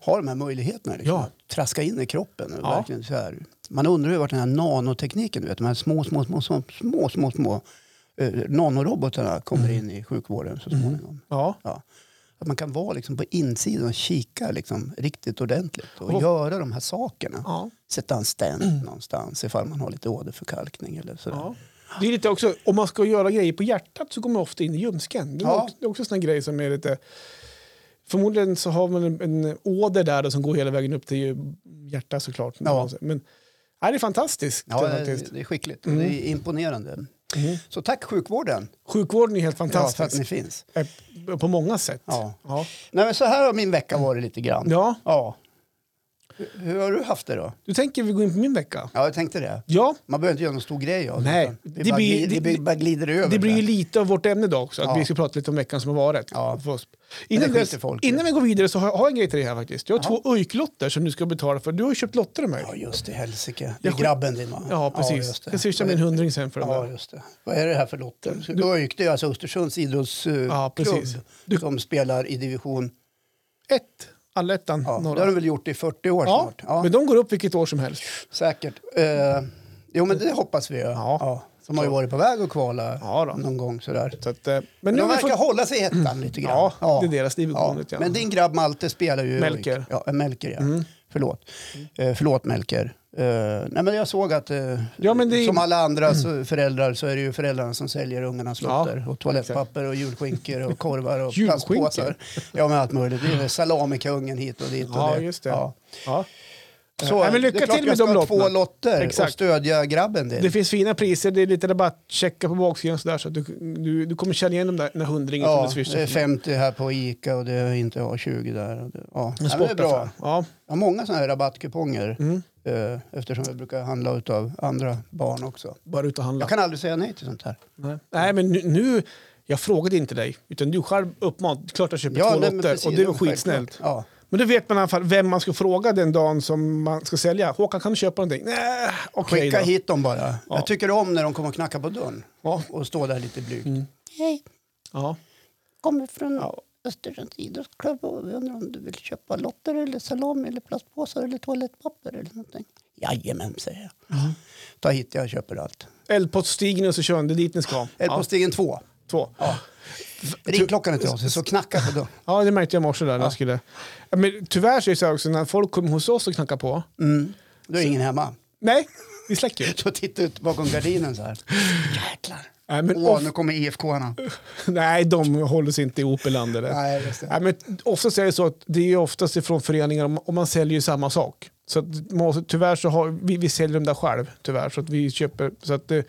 Speaker 2: har de här möjligheterna. Liksom,
Speaker 1: Ja.
Speaker 2: Att traska in i kroppen. Och
Speaker 1: Ja.
Speaker 2: verkligen så här. Man undrar ju vart den här nanotekniken, du vet, de här små, små, små, små, små, små, små eh, nanorobotarna kommer
Speaker 1: Mm.
Speaker 2: in i sjukvården så småningom.
Speaker 1: Ja.
Speaker 2: Ja. Att man kan vara liksom på insidan och kika liksom riktigt ordentligt och
Speaker 1: Och-
Speaker 2: göra de här sakerna.
Speaker 1: Ja. Mm.
Speaker 2: Sätta en stent någonstans ifall man har lite åderförkalkning eller sådär.
Speaker 1: Ja. Det är lite också, om man ska göra grejer på hjärtat så går man ofta in i ljumsken. Det är
Speaker 2: Ja.
Speaker 1: också, det är också en sån här grej som är lite... Förmodligen så har man en, en åder där då, som går hela vägen upp till hjärtat såklart.
Speaker 2: Ja.
Speaker 1: Men nej, det är fantastiskt.
Speaker 2: Ja,
Speaker 1: det,
Speaker 2: det,
Speaker 1: faktiskt. Mm.
Speaker 2: är- det är skickligt. Det är imponerande. Så tack sjukvården
Speaker 1: Sjukvården är helt
Speaker 2: ja, för att ni
Speaker 1: fantastisk.
Speaker 2: finns.
Speaker 1: Eh, På många sätt.
Speaker 2: Ja.
Speaker 1: Ja.
Speaker 2: Nej, men så här har min vecka varit lite grann.
Speaker 1: Ja.
Speaker 2: Ja. Hur, hur har du haft det då?
Speaker 1: Du tänker vi går in på min vecka?
Speaker 2: Ja, jag tänkte det.
Speaker 1: Ja,
Speaker 2: Man behöver inte göra någon stor grej av
Speaker 1: Nej,
Speaker 2: utan Det,
Speaker 1: det
Speaker 2: bara,
Speaker 1: blir-
Speaker 2: gli- det,
Speaker 1: det-
Speaker 2: blir- bara glider över.
Speaker 1: det blir ju
Speaker 2: där.
Speaker 1: lite av vårt ämne idag också, att
Speaker 2: Ja.
Speaker 1: vi ska prata lite om veckan som har varit.
Speaker 2: Ja.
Speaker 1: För oss. Innan,
Speaker 2: skiter
Speaker 1: dess,
Speaker 2: folk i.
Speaker 1: innan vi går vidare så har jag har jag en grej till dig här faktiskt. Jag har två UJK-lotter som du ska betala för. Du har ju köpt lotter av mig.
Speaker 2: Ja, just det. Helsike. Det
Speaker 1: Jag
Speaker 2: är
Speaker 1: sk-
Speaker 2: grabben din va?
Speaker 1: Ja, precis.
Speaker 2: just det.
Speaker 1: jag swishar min hundring sen för den
Speaker 2: Ja,
Speaker 1: där.
Speaker 2: just det. Vad är det här för lotter? Du ÖIK, det är alltså Östersunds idrottsklubb
Speaker 1: Ja, precis. Du-
Speaker 2: som spelar i division...
Speaker 1: Ett, allettan,
Speaker 2: Ja, det har
Speaker 1: norra.
Speaker 2: de väl gjort i 40 år
Speaker 1: Ja,
Speaker 2: snart? Ja,
Speaker 1: men de går upp vilket år som helst.
Speaker 2: säkert. Eh, jo, men det hoppas vi. Ja.
Speaker 1: Ja.
Speaker 2: De har ju varit på väg att kvala
Speaker 1: Ja, då.
Speaker 2: någon gång sådär.
Speaker 1: Så att, eh, men
Speaker 2: Men
Speaker 1: nu
Speaker 2: Mm. de
Speaker 1: har vi
Speaker 2: verkar
Speaker 1: fått... Mm.
Speaker 2: hålla sig i ettan lite grann.
Speaker 1: Ja, det är deras division lite grann.
Speaker 2: Men din grabb Malte spelar ju... i
Speaker 1: Melker. Mm.
Speaker 2: ÖIK. Ja, eh, Melker, ja. Förlåt. Eh, förlåt, Melker. Eh, nej, men jag såg att eh,
Speaker 1: Ja, men det är- Mm.
Speaker 2: som alla andra så, föräldrar så är det ju föräldrarna som säljer ungarnas
Speaker 1: Ja.
Speaker 2: lotter. Och toalettpapper och julskinkor och
Speaker 1: *laughs*
Speaker 2: korvar och
Speaker 1: Julskinkor?
Speaker 2: plastpåsar. Ja, men allt möjligt. Det är väl salamikungen hit och dit. Och
Speaker 1: Ja, just det.
Speaker 2: Ja.
Speaker 1: Ja.
Speaker 2: Så,
Speaker 1: Nej, men
Speaker 2: det är
Speaker 1: lycka
Speaker 2: klart
Speaker 1: till
Speaker 2: jag
Speaker 1: med
Speaker 2: ska
Speaker 1: de
Speaker 2: ha två
Speaker 1: lotterna.
Speaker 2: lotter och
Speaker 1: Exakt.
Speaker 2: stödja grabben din.
Speaker 1: Det finns fina priser, det är lite rabattcheckar på baksidan så, där, så att du, du, du kommer känna igen de där, den där hundringen
Speaker 2: Ja,
Speaker 1: som du
Speaker 2: det
Speaker 1: swishar.
Speaker 2: är 50 här på Ica och det är inte A20 där. och det- Ja.
Speaker 1: En
Speaker 2: Nej, men det är bra.
Speaker 1: sportaffär. Ja.
Speaker 2: Jag har många sådana här rabattkuponger
Speaker 1: Mm.
Speaker 2: eh, eftersom jag brukar handla av andra barn också.
Speaker 1: Bara ut och handla.
Speaker 2: Jag kan aldrig säga nej till sånt här.
Speaker 1: Nej. Nej, men nu, nu... Jag frågade inte dig, utan du själv uppmanade. Klart jag köper två
Speaker 2: nej, men
Speaker 1: lotter
Speaker 2: precis,
Speaker 1: och det var
Speaker 2: självklart.
Speaker 1: skitsnällt.
Speaker 2: Ja.
Speaker 1: Men då vet man i alla fall vem man ska fråga den dagen som man ska sälja. Håkan, kan du köpa någonting? Nej, okej
Speaker 2: Skicka
Speaker 1: då.
Speaker 2: hit dem bara.
Speaker 1: Ja.
Speaker 2: Jag tycker om när de kommer och knackar på dörren
Speaker 1: Ja.
Speaker 2: och står där lite blygt.
Speaker 3: Hej,
Speaker 1: Ja.
Speaker 3: kommer från
Speaker 1: Ja.
Speaker 3: Östersunds idrottsklubb och vi undrar om du vill köpa lotter eller salami eller plastpåsar eller toalettpapper eller någonting.
Speaker 2: Jajamän, säger jag. Ta hit det, jag köper allt.
Speaker 1: Eldpottstigen och så kör ni dit ni ska.
Speaker 2: Eller på
Speaker 1: Ja,
Speaker 2: stegen två.
Speaker 1: två. Ja.
Speaker 2: Ring klockan inte oss, så knacka på dörren.
Speaker 1: det märkte jag i morse där när jag skulle... Ja, Men tyvärr så är det så här också, när folk kommer hos oss och knackar på.
Speaker 2: Mm. Då är ingen hemma.
Speaker 1: Nej, vi släcker ju.
Speaker 2: Så titta ut bakom gardinen så här. Jäklar.
Speaker 1: Nej, men
Speaker 2: Åh,
Speaker 1: of-
Speaker 2: nu kommer IFK-arna.
Speaker 1: *laughs* Nej, de håller sig inte ihop i landet. där.
Speaker 2: Nej, just det.
Speaker 1: Nej, men oftast är det så att det är ju oftast ifrån föreningar om- och man säljer ju samma sak. Så att, man måste- tyvärr så har vi, vi säljer dem där själv, tyvärr. Så att vi köper, så att eh,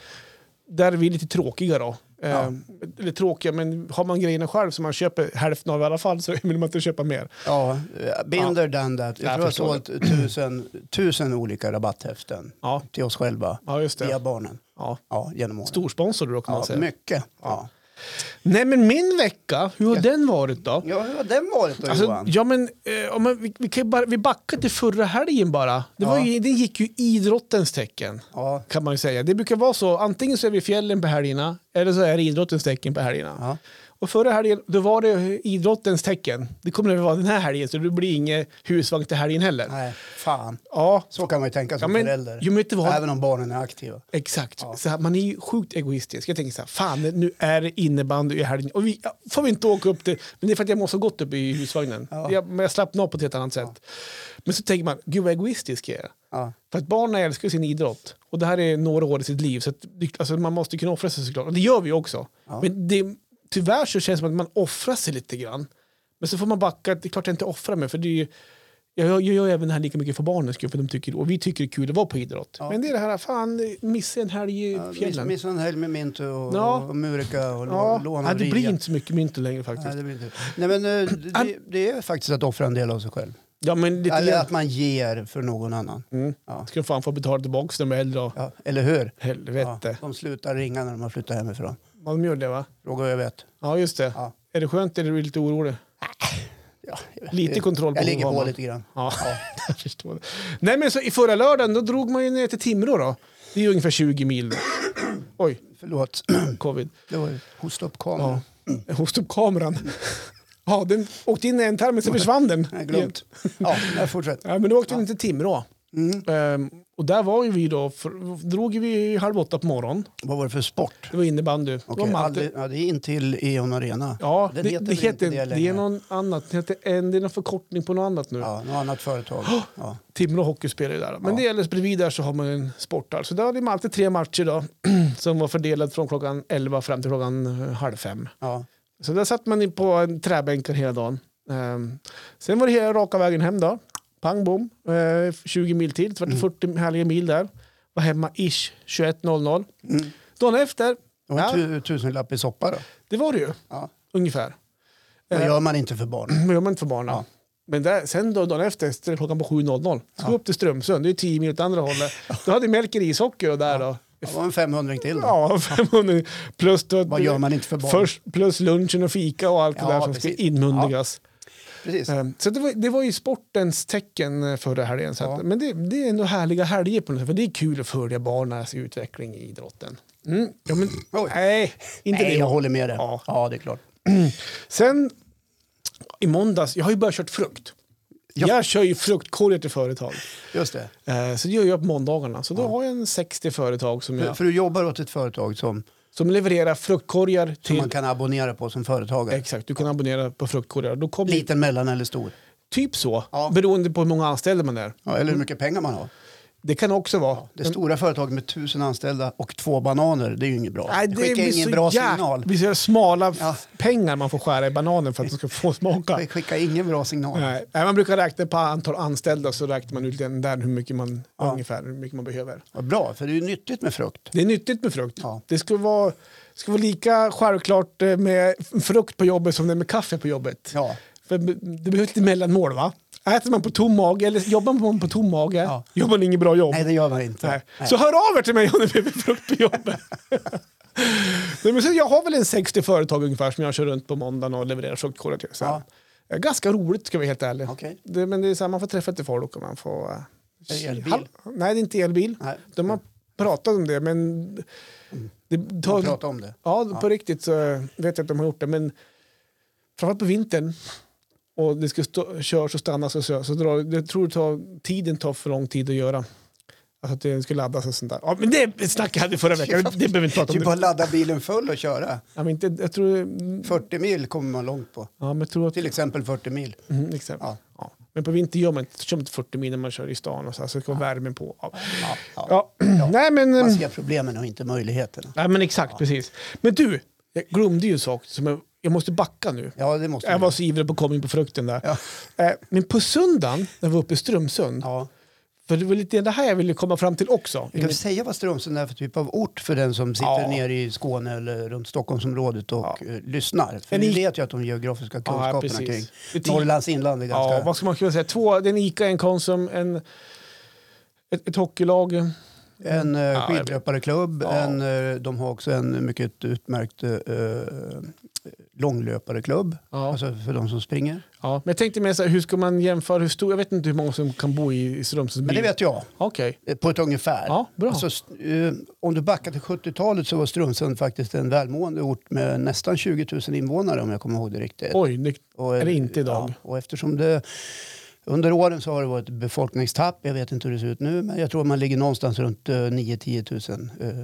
Speaker 1: där är vi lite tråkiga då. Eh,
Speaker 2: Ja.
Speaker 1: Eller tråkiga, men har man grejerna själv som man köper hälften av i alla fall så *laughs* vill man inte köpa mer.
Speaker 2: Ja, binder done that. Jag
Speaker 1: Jag
Speaker 2: tror jag har
Speaker 1: förstår
Speaker 2: sålt tusen, tusen olika rabatthäften
Speaker 1: Ja,
Speaker 2: till oss själva
Speaker 1: ja just det.
Speaker 2: via barnen
Speaker 1: Ja.
Speaker 2: ja, genom åren.
Speaker 1: Storsponsor då kan man
Speaker 2: ja,
Speaker 1: säga.
Speaker 2: mycket. Ja.
Speaker 1: Nej, men min vecka, hur har
Speaker 2: Ja.
Speaker 1: den varit då?
Speaker 2: Ja, hur har den varit då
Speaker 1: Alltså,
Speaker 2: Johan?
Speaker 1: ja, men, eh, om man, vi, vi, kan ju bara, vi backar till förra helgen bara. Det, var
Speaker 2: Ja.
Speaker 1: ju, det gick ju i idrottens tecken.
Speaker 2: Ja,
Speaker 1: Kan man ju säga. Det brukar vara så, antingen så är vi i fjällen på helgerna eller så är det idrottens tecken på helgerna.
Speaker 2: ja.
Speaker 1: Och förra helgen, då var det idrottens tecken. Det kommer det att vara den här helgen, så det blir inget husvagn till helgen heller.
Speaker 2: Nej, fan.
Speaker 1: Ja,
Speaker 2: Så kan man ju tänka som
Speaker 1: Ja, men-
Speaker 2: förälder.
Speaker 1: jo, men vet du vad?
Speaker 2: Även om barnen är aktiva.
Speaker 1: Exakt. Så här, man är ju sjukt egoistisk. Jag tänker så här, fan nu är det innebandy i helgen och vi ja, får vi inte åka upp till, men det är för att jag måste ha gått upp i husvagnen.
Speaker 2: Ja.
Speaker 1: Jag, men jag slappnar av på ett helt annat sätt. Men så tänker man, gud vad egoistisk jag är.
Speaker 2: Ja.
Speaker 1: För att barnen älskar ju sin idrott och det här är några år i sitt liv så att, det- alltså, man måste ju kunna offra sig såklart. Och det gör vi ju också.
Speaker 2: Ja.
Speaker 1: Men det, tyvärr så känns det som att man offrar sig lite grann. Men så får man backa, det är klart jag inte offrar mig för det är ju jag, jag, jag gör även det här lika mycket för barnens skull, för de tycker, och vi tycker det är kul att vara på idrott.
Speaker 2: Ja.
Speaker 1: Men det är det här, fan, missa en helg i
Speaker 2: Ja, miss-
Speaker 1: fjällen.
Speaker 2: Missa en helg med Mintu och,
Speaker 1: Ja.
Speaker 2: och Murika och
Speaker 1: Ja,
Speaker 2: ja. låna
Speaker 1: ja,
Speaker 2: och
Speaker 1: det
Speaker 2: Ria.
Speaker 1: blir inte så mycket mynt längre faktiskt.
Speaker 2: Nej, det blir inte. Nej, men eh, det, det är faktiskt att offra en del av sig själv.
Speaker 1: Ja, men lite
Speaker 2: Eller
Speaker 1: grann.
Speaker 2: att man ger för någon annan.
Speaker 1: Mm.
Speaker 2: Ja.
Speaker 1: Ska de fan få betala tillbaka när de är äldre då?
Speaker 2: Ja, eller hur? Ja,
Speaker 1: Helvete.
Speaker 2: de slutar ringa när de har flyttat hemifrån.
Speaker 1: Ja, de gör det va?
Speaker 2: Fråga vad jag vet.
Speaker 1: Ja, just det.
Speaker 2: Ja.
Speaker 1: Är det skönt eller är du lite orolig?
Speaker 2: Ja, jag vet.
Speaker 1: Lite kontroll på
Speaker 2: Jag ligger
Speaker 1: vad
Speaker 2: på
Speaker 1: man-
Speaker 2: lite grann.
Speaker 1: *laughs* Ja, jag förstår det. Nej, men så i förra lördagen då drog man ju ner till Timrå då. Det är ju ungefär 20 mil. *clears throat* Oj,
Speaker 2: Förlåt, *clears throat*
Speaker 1: covid.
Speaker 2: det var ju hosta upp
Speaker 1: Ja.
Speaker 2: kameran.
Speaker 1: Hosta upp kameran. *laughs* Ja, den åkte in i en tarm, men sen försvann den.
Speaker 2: Jag har glömt. Ja, jag fortsätter.
Speaker 1: Ja, men då åkte vi till Timrå.
Speaker 2: Mm.
Speaker 1: Ehm, och där var ju vi då, för, drog vi ju halv åtta på morgonen.
Speaker 2: Vad var det för sport?
Speaker 1: Det var innebandy.
Speaker 2: Okej,
Speaker 1: det var Malte-
Speaker 2: aldrig- ja, det är in till Eon Arena.
Speaker 1: Ja, det,
Speaker 2: Den
Speaker 1: det,
Speaker 2: heter väl
Speaker 1: heter,
Speaker 2: inte det
Speaker 1: det, är
Speaker 2: längre?
Speaker 1: någon annat. Det, heter en, det är någon förkortning på något annat nu.
Speaker 2: Ja, något annat företag. Ja.
Speaker 1: Timrå Hockey spelar ju där. Men
Speaker 2: Ja.
Speaker 1: det gäller bredvid där så har man en sporthall. Så där hade man alltid tre matcher då, *clears throat* som var fördelade från klockan 11 fram till klockan eh, halv fem.
Speaker 2: Ja.
Speaker 1: Så där satt man in på en träbänkar hela dagen. Ehm, sen var det hela raka vägen hem då. Pang bom, eh, 20 mil till. Det var
Speaker 2: Mm.
Speaker 1: 40 härliga mil där. Var hemma ish 21.00.
Speaker 2: Mm.
Speaker 1: Dagen efter,
Speaker 2: Det var
Speaker 1: Ja.
Speaker 2: en tu, tusenlapp i soppa då.
Speaker 1: det var det ju
Speaker 2: Ja.
Speaker 1: ungefär.
Speaker 2: Det
Speaker 1: Eh.
Speaker 2: gör man inte
Speaker 1: *clears throat*
Speaker 2: för barn.
Speaker 1: Men gör man inte för barnen.
Speaker 2: Ja.
Speaker 1: Men där, sen då, dagen efter, så är det klockan på 7.00, så gå upp till Strömsund, det är 10 mil åt andra
Speaker 2: *laughs*
Speaker 1: hållet. Då hade Melker ishockey och där då.
Speaker 2: Det var en 500 till då.
Speaker 1: Ja, *laughs* 500 plus, då,
Speaker 2: Vad gör man inte för barn?
Speaker 1: först, plus lunchen och fika och allt det
Speaker 2: Ja,
Speaker 1: där som
Speaker 2: precis.
Speaker 1: ska inmundigas.
Speaker 2: Precis.
Speaker 1: Ehm, Så det var, det var ju sportens tecken eh, förra helgen. Så att,
Speaker 2: Ja.
Speaker 1: Men det, det är ändå härliga helger på något sätt, för det är kul att följa barnens utveckling i idrotten. Mm. Ja, men,
Speaker 2: Oj.
Speaker 1: nej, inte
Speaker 2: Nej,
Speaker 1: det.
Speaker 2: jag håller med dig.
Speaker 1: Ja.
Speaker 2: Ja. det är klart.
Speaker 1: Sen i måndags, jag har ju börjat kört frukt.
Speaker 2: Ja.
Speaker 1: Jag kör ju fruktkorgar till företag.
Speaker 2: Just det.
Speaker 1: Eh, Så det gör jag på måndagarna. Så då har jag en 60 företag som,
Speaker 2: För,
Speaker 1: jag,
Speaker 2: för du jobbar åt ett företag som,
Speaker 1: som levererar fruktkorgar
Speaker 2: som
Speaker 1: till...
Speaker 2: man kan abonnera på som företagare.
Speaker 1: Exakt, du kan abonnera på fruktkorgar. Då kommer
Speaker 2: Liten, mellan eller stor.
Speaker 1: typ så,
Speaker 2: Ja.
Speaker 1: beroende på hur många anställda man är.
Speaker 2: Ja, eller hur mycket pengar man har.
Speaker 1: Det kan också vara...
Speaker 2: Det stora företaget med tusen anställda och två bananer, det är ju inget bra.
Speaker 1: Nej,
Speaker 2: det skickar ingen bra signal.
Speaker 1: Vi ser smala f-
Speaker 2: Ja.
Speaker 1: pengar man får skära i bananen för att man ska få smaka. Eh,
Speaker 2: Det skickar ingen bra signal.
Speaker 1: Nej, nej, man brukar räkna på antal anställda så räknar man ut den där hur mycket man, ungefär, hur mycket man behöver.
Speaker 2: Vad Bra, för det är ju nyttigt med frukt.
Speaker 1: Det är nyttigt med frukt.
Speaker 2: Ja.
Speaker 1: Det ska vara, ska vara lika självklart eh, med frukt på jobbet som det är med kaffe på jobbet.
Speaker 2: Ja.
Speaker 1: För b- det behövs lite mellanmål va? Äter man på tom mage, eller jobbar man på tom mage,
Speaker 2: Ja.
Speaker 1: gör man inget bra jobb.
Speaker 2: Nej, det gör man inte.
Speaker 1: Nej.
Speaker 2: Nej.
Speaker 1: Så hör av er till mig om ni behöver frukt på jobbet. *laughs* Nej, men så jag har väl en 60 företag ungefär som jag kör runt på måndagen och levererar fruktkorgar till. Så här.
Speaker 2: Ja.
Speaker 1: Eh, Ganska roligt ska vi vara helt ärlig.
Speaker 2: Okej.
Speaker 1: Det, men det är så här, man får träffa lite folk och man får... eh,
Speaker 2: Är det elbil?
Speaker 1: Hall- Nej, det är inte elbil.
Speaker 2: Nej.
Speaker 1: De har pratat om det, men... Det
Speaker 2: Vi
Speaker 1: tar,
Speaker 2: pratar om det.
Speaker 1: ja, på riktigt så eh, vet jag att de har gjort det, men framförallt på vintern och det ska stå, körs och stannas och så, så drar, jag tror det tar, tiden tar för lång tid att göra. Alltså att det ska laddas och sånt där. Ja, men det snackade jag hade förra veckan, det behöver vi inte prata om
Speaker 2: Typ
Speaker 1: nu.
Speaker 2: bara ladda bilen full och köra.
Speaker 1: Ja, men inte, jag tror, mm,
Speaker 2: 40 mil kommer man långt på.
Speaker 1: ja, men jag tror att,
Speaker 2: Till exempel 40 mil.
Speaker 1: mm, exakt. Ja.
Speaker 2: Ja.
Speaker 1: Men på vintern gör man inte, kör man inte 40 mil när man kör i stan och så, här, så ska värmen på. Ja.
Speaker 2: Ja, ja.
Speaker 1: Ja. Nej, men,
Speaker 2: Man
Speaker 1: ehm,
Speaker 2: ser problemen och inte möjligheterna.
Speaker 1: nej, men exakt, precis. Men du, jag glömde ju en sak som jag, jag måste backa nu.
Speaker 2: Ja, det måste
Speaker 1: Jag
Speaker 2: man.
Speaker 1: var så ivrig på att komma in på frukten där.
Speaker 2: Ja.
Speaker 1: Eh, Men på söndagen, när vi var uppe i Strömsund,
Speaker 2: Ja.
Speaker 1: för det var lite det här jag ville komma fram till också.
Speaker 2: Kan du säga vad Strömsund är för typ av ort för den som sitter
Speaker 1: Ja.
Speaker 2: nere i Skåne eller runt Stockholmsområdet och eh, lyssnar? För
Speaker 1: En
Speaker 2: vi
Speaker 1: i-
Speaker 2: vet ju att de geografiska kunskaperna
Speaker 1: precis.
Speaker 2: kring
Speaker 1: Det är ti-
Speaker 2: Norrlands inland är ganska...
Speaker 1: Ja, vad ska man kunna säga? Två, det är en Ica, en Konsum, en, ett, ett hockeylag,
Speaker 2: en eh,
Speaker 1: jag vet.
Speaker 2: skidlöpareklubb.
Speaker 1: Ja.
Speaker 2: En, eh, de har också en mycket utmärkt eh, eh, långlöpareklubb.
Speaker 1: Ja.
Speaker 2: Alltså för de som springer.
Speaker 1: Ja, men jag tänkte mer så här, hur ska man jämföra hur stor, jag vet inte hur många som kan bo i, i Strömsundsby.
Speaker 2: Men det vet jag,
Speaker 1: Okej,
Speaker 2: eh, på ett ungefär.
Speaker 1: ja, bra.
Speaker 2: Alltså, st- eh, om du backar till 70-talet så var Strömsund faktiskt en välmående ort med nästan 20 000 invånare om jag kommer ihåg det riktigt.
Speaker 1: Oj, det,
Speaker 2: Och, eh,
Speaker 1: är det inte idag?
Speaker 2: Ja, och eftersom det, under åren så har det varit befolkningstapp, jag vet inte hur det ser ut nu, men jag tror man ligger någonstans runt eh, 9-10 000 eh,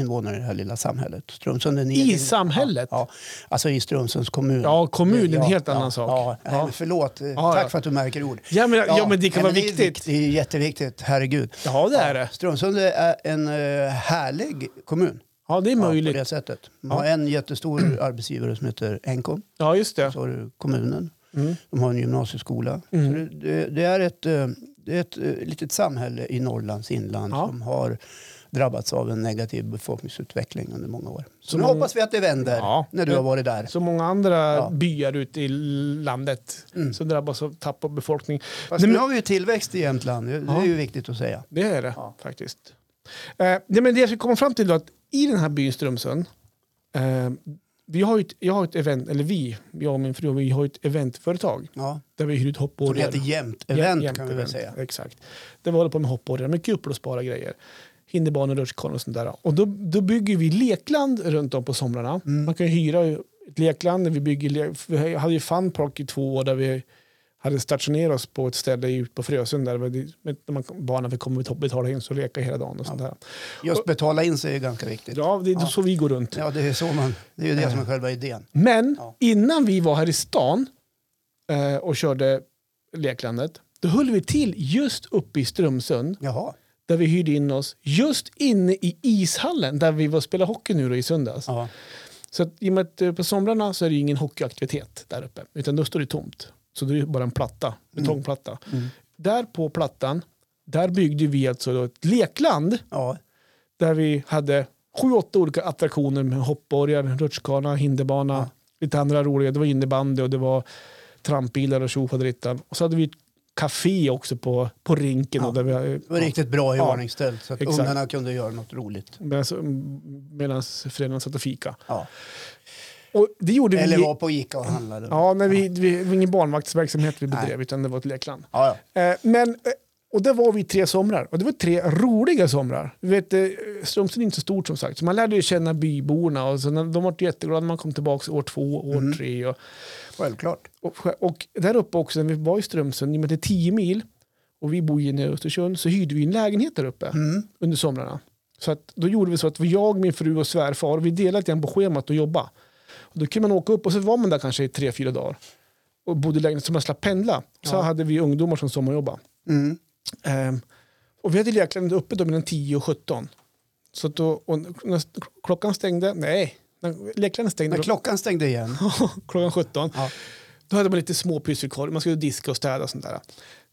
Speaker 2: invånare i det här lilla samhället. Strömsund är en
Speaker 1: i
Speaker 2: egen-
Speaker 1: samhället? Ja,
Speaker 2: Ja, alltså i Strömsunds kommun.
Speaker 1: kommun är en
Speaker 2: Ja,
Speaker 1: helt
Speaker 2: ja,
Speaker 1: annan sak.
Speaker 2: Ja, nej,
Speaker 1: Ja.
Speaker 2: men förlåt, Eh,
Speaker 1: Ja, ja.
Speaker 2: tack för att du märker ord.
Speaker 1: Ja, men, ja, men det kan vara
Speaker 2: nej, men
Speaker 1: viktigt.
Speaker 2: Det är, vikt- det är jätteviktigt, herregud.
Speaker 1: Ja, det är det.
Speaker 2: Strömsund är en eh, härlig kommun.
Speaker 1: Ja, det är
Speaker 2: Ja,
Speaker 1: möjligt.
Speaker 2: på
Speaker 1: Ja,
Speaker 2: det sättet. De har en jättestor *clears throat* arbetsgivare som heter Encom.
Speaker 1: just det.
Speaker 2: Så har du kommunen.
Speaker 1: Mm.
Speaker 2: De har en gymnasieskola.
Speaker 1: Mm.
Speaker 2: Så det, det, det är ett, eh, det är ett eh, litet samhälle i Norrlands inland
Speaker 1: Ja.
Speaker 2: som har drabbats av en negativ befolkningsutveckling under många år. Så,
Speaker 1: Så
Speaker 2: nu
Speaker 1: många-
Speaker 2: hoppas vi att det vänder
Speaker 1: Mm. Ja.
Speaker 2: när du har varit där.
Speaker 1: Så många andra
Speaker 2: Ja. Mm.
Speaker 1: byar ute i landet som drabbas av tapp av befolkning.
Speaker 2: Fast
Speaker 1: Nej, men-
Speaker 2: nu har vi ju tillväxt i Jämtland, det, det
Speaker 1: Ja.
Speaker 2: är ju viktigt att säga.
Speaker 1: Det är det
Speaker 2: Ja.
Speaker 1: faktiskt. Eh, nej, men det jag ska komma fram till då, att i den här byn Strömsund, eh, vi har ju ett, jag har ett event, eller vi, jag och min fru, vi har ju ett eventföretag
Speaker 2: Ja.
Speaker 1: där vi hyr ut hoppborgar.
Speaker 2: Som heter jämt
Speaker 1: Jämt-
Speaker 2: event
Speaker 1: jämt
Speaker 2: kan vi väl
Speaker 1: event,
Speaker 2: säga.
Speaker 1: Exakt. Där vi håller på med hoppborgar, med kuplåsbara grejer. Hinderbanor, rutschkanor och sånt där. Och då, då bygger vi lekland runt om på somrarna.
Speaker 2: Mm.
Speaker 1: Man kan ju hyra ett lekland. Vi, bygger, le- vi hade ju Fun Park i två år där vi hade stationerat oss på ett ställe ute på Frösön där vi- där man, barnen fick komma och betala in så leka hela dagen. Och sånt där.
Speaker 2: Just betala in sig är ganska viktigt.
Speaker 1: Ja, Mm. det är så vi går runt.
Speaker 2: Ja, det är så man, det är ju det som är själva idén.
Speaker 1: Men
Speaker 2: Ja.
Speaker 1: innan vi var här i stan eh, och körde leklandet, då höll vi till just uppe i Strömsund
Speaker 2: Jaha.
Speaker 1: där vi hyrde in oss just inne i ishallen där vi var och spelade hockey nu då i söndags.
Speaker 2: Ja.
Speaker 1: Så att, i och med att eh, på somrarna så är det ju ingen hockeyaktivitet där uppe, utan då står det tomt. Så det är ju bara en platta,
Speaker 2: Mm.
Speaker 1: betongplatta. Där på plattan, där byggde vi alltså då ett lekland
Speaker 2: Ja.
Speaker 1: där vi hade sju, åtta olika attraktioner med hoppborgar, rutschkana, hinderbana, lite andra roliga. Det var innebandy och det var trampbilar och tjofaderittan. Och så hade vi ett café också på, på rinken. då, där vi,
Speaker 2: Det var riktigt bra
Speaker 1: Ja.
Speaker 2: iordningställt så att
Speaker 1: Exakt.
Speaker 2: ungarna kunde göra något roligt.
Speaker 1: Medan föräldrarna satt och fika.
Speaker 2: Ja.
Speaker 1: Och det gjorde vi...
Speaker 2: Eller var på Ica och handlade.
Speaker 1: Ja, men vi, vi, det var ingen barnvaktsverksamhet vi bedrev, utan det var ett lekland.
Speaker 2: Ja, ja.
Speaker 1: Eh, men, eh, och där var vi tre somrar, och det var tre roliga somrar. Du vet, eh, Strömsund är inte så stort som sagt, så man lärde ju känna byborna. Och så, när- de var jätteglada när man kom tillbaka år två, år
Speaker 2: Mm.
Speaker 1: tre. Och,
Speaker 2: Självklart.
Speaker 1: och, och där uppe också, när vi var i Strömsund, i och med att det är tio mil, och vi bor ju nere i Östersund, så hyrde vi en lägenhet där uppe
Speaker 2: Mm.
Speaker 1: under somrarna. Så att, då gjorde vi så att jag, min fru och svärfar, vi delade lite grann på schemat och jobba. Och då kunde man åka upp och så var man där kanske i tre, fyra dagar och bodde i lägenhet så man slapp pendla. Så hade vi ungdomar som sommarjobbade.
Speaker 2: Mm.
Speaker 1: Ehm, och vi hade leklandet uppe då mellan 10 och 17. Så att då, och när klockan stängde, nej, när leklandet stängde
Speaker 2: När klockan stängde igen.
Speaker 1: klockan 17.
Speaker 2: Ja.
Speaker 1: Då hade man lite små pysselkorv, man skulle diska och städa och sånt där.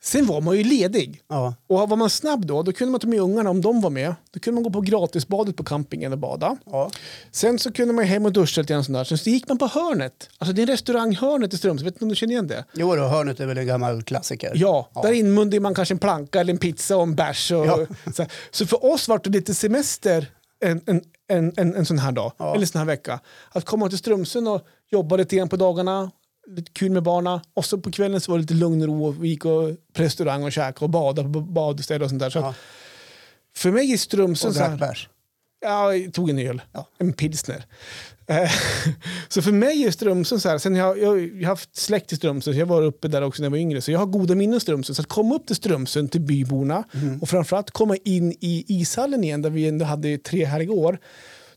Speaker 1: Sen var man ju ledig.
Speaker 2: Ja.
Speaker 1: Och var man snabb då, då kunde man ta med ungarna om de var med. Då kunde man gå på gratisbadet på campingen och bada.
Speaker 2: Ja.
Speaker 1: Sen så kunde man hem och duscha lite grann och sånt där. Sen så gick man på hörnet. Alltså det är restauranghörnet i Strömsund, vet inte om du känner igen det?
Speaker 2: Jo då, hörnet är väl en gammal klassiker.
Speaker 1: Ja, där inmundigar man kanske en planka eller en pizza och en bärs. Och,
Speaker 2: Ja.
Speaker 1: så, här. så för oss var det lite semester en, en, en, en, en sån här dag, eller sån här vecka. Att komma till Strömsund och jobba lite grann på dagarna, lite kul med barna. Och så på kvällen så var det lite lugn och ro. Vi gick och, på restaurang och käkade och badade på badstäder och sånt där. Så
Speaker 2: Ja.
Speaker 1: att, för mig är
Speaker 2: och
Speaker 1: Strömsund så
Speaker 2: drack
Speaker 1: här,
Speaker 2: bärs.
Speaker 1: ja, jag tog en öl,
Speaker 2: Ja.
Speaker 1: en pilsner. Eh, *laughs* Så för mig är Strömsund så här, sen jag, jag, jag har haft släkt i Strömsund, så jag var uppe där också när jag var yngre, så jag har goda minnen av Strömsund. Så att komma upp till Strömsund, till byborna
Speaker 2: Mm.
Speaker 1: och framförallt komma in i ishallen igen där vi ändå hade tre härliga år.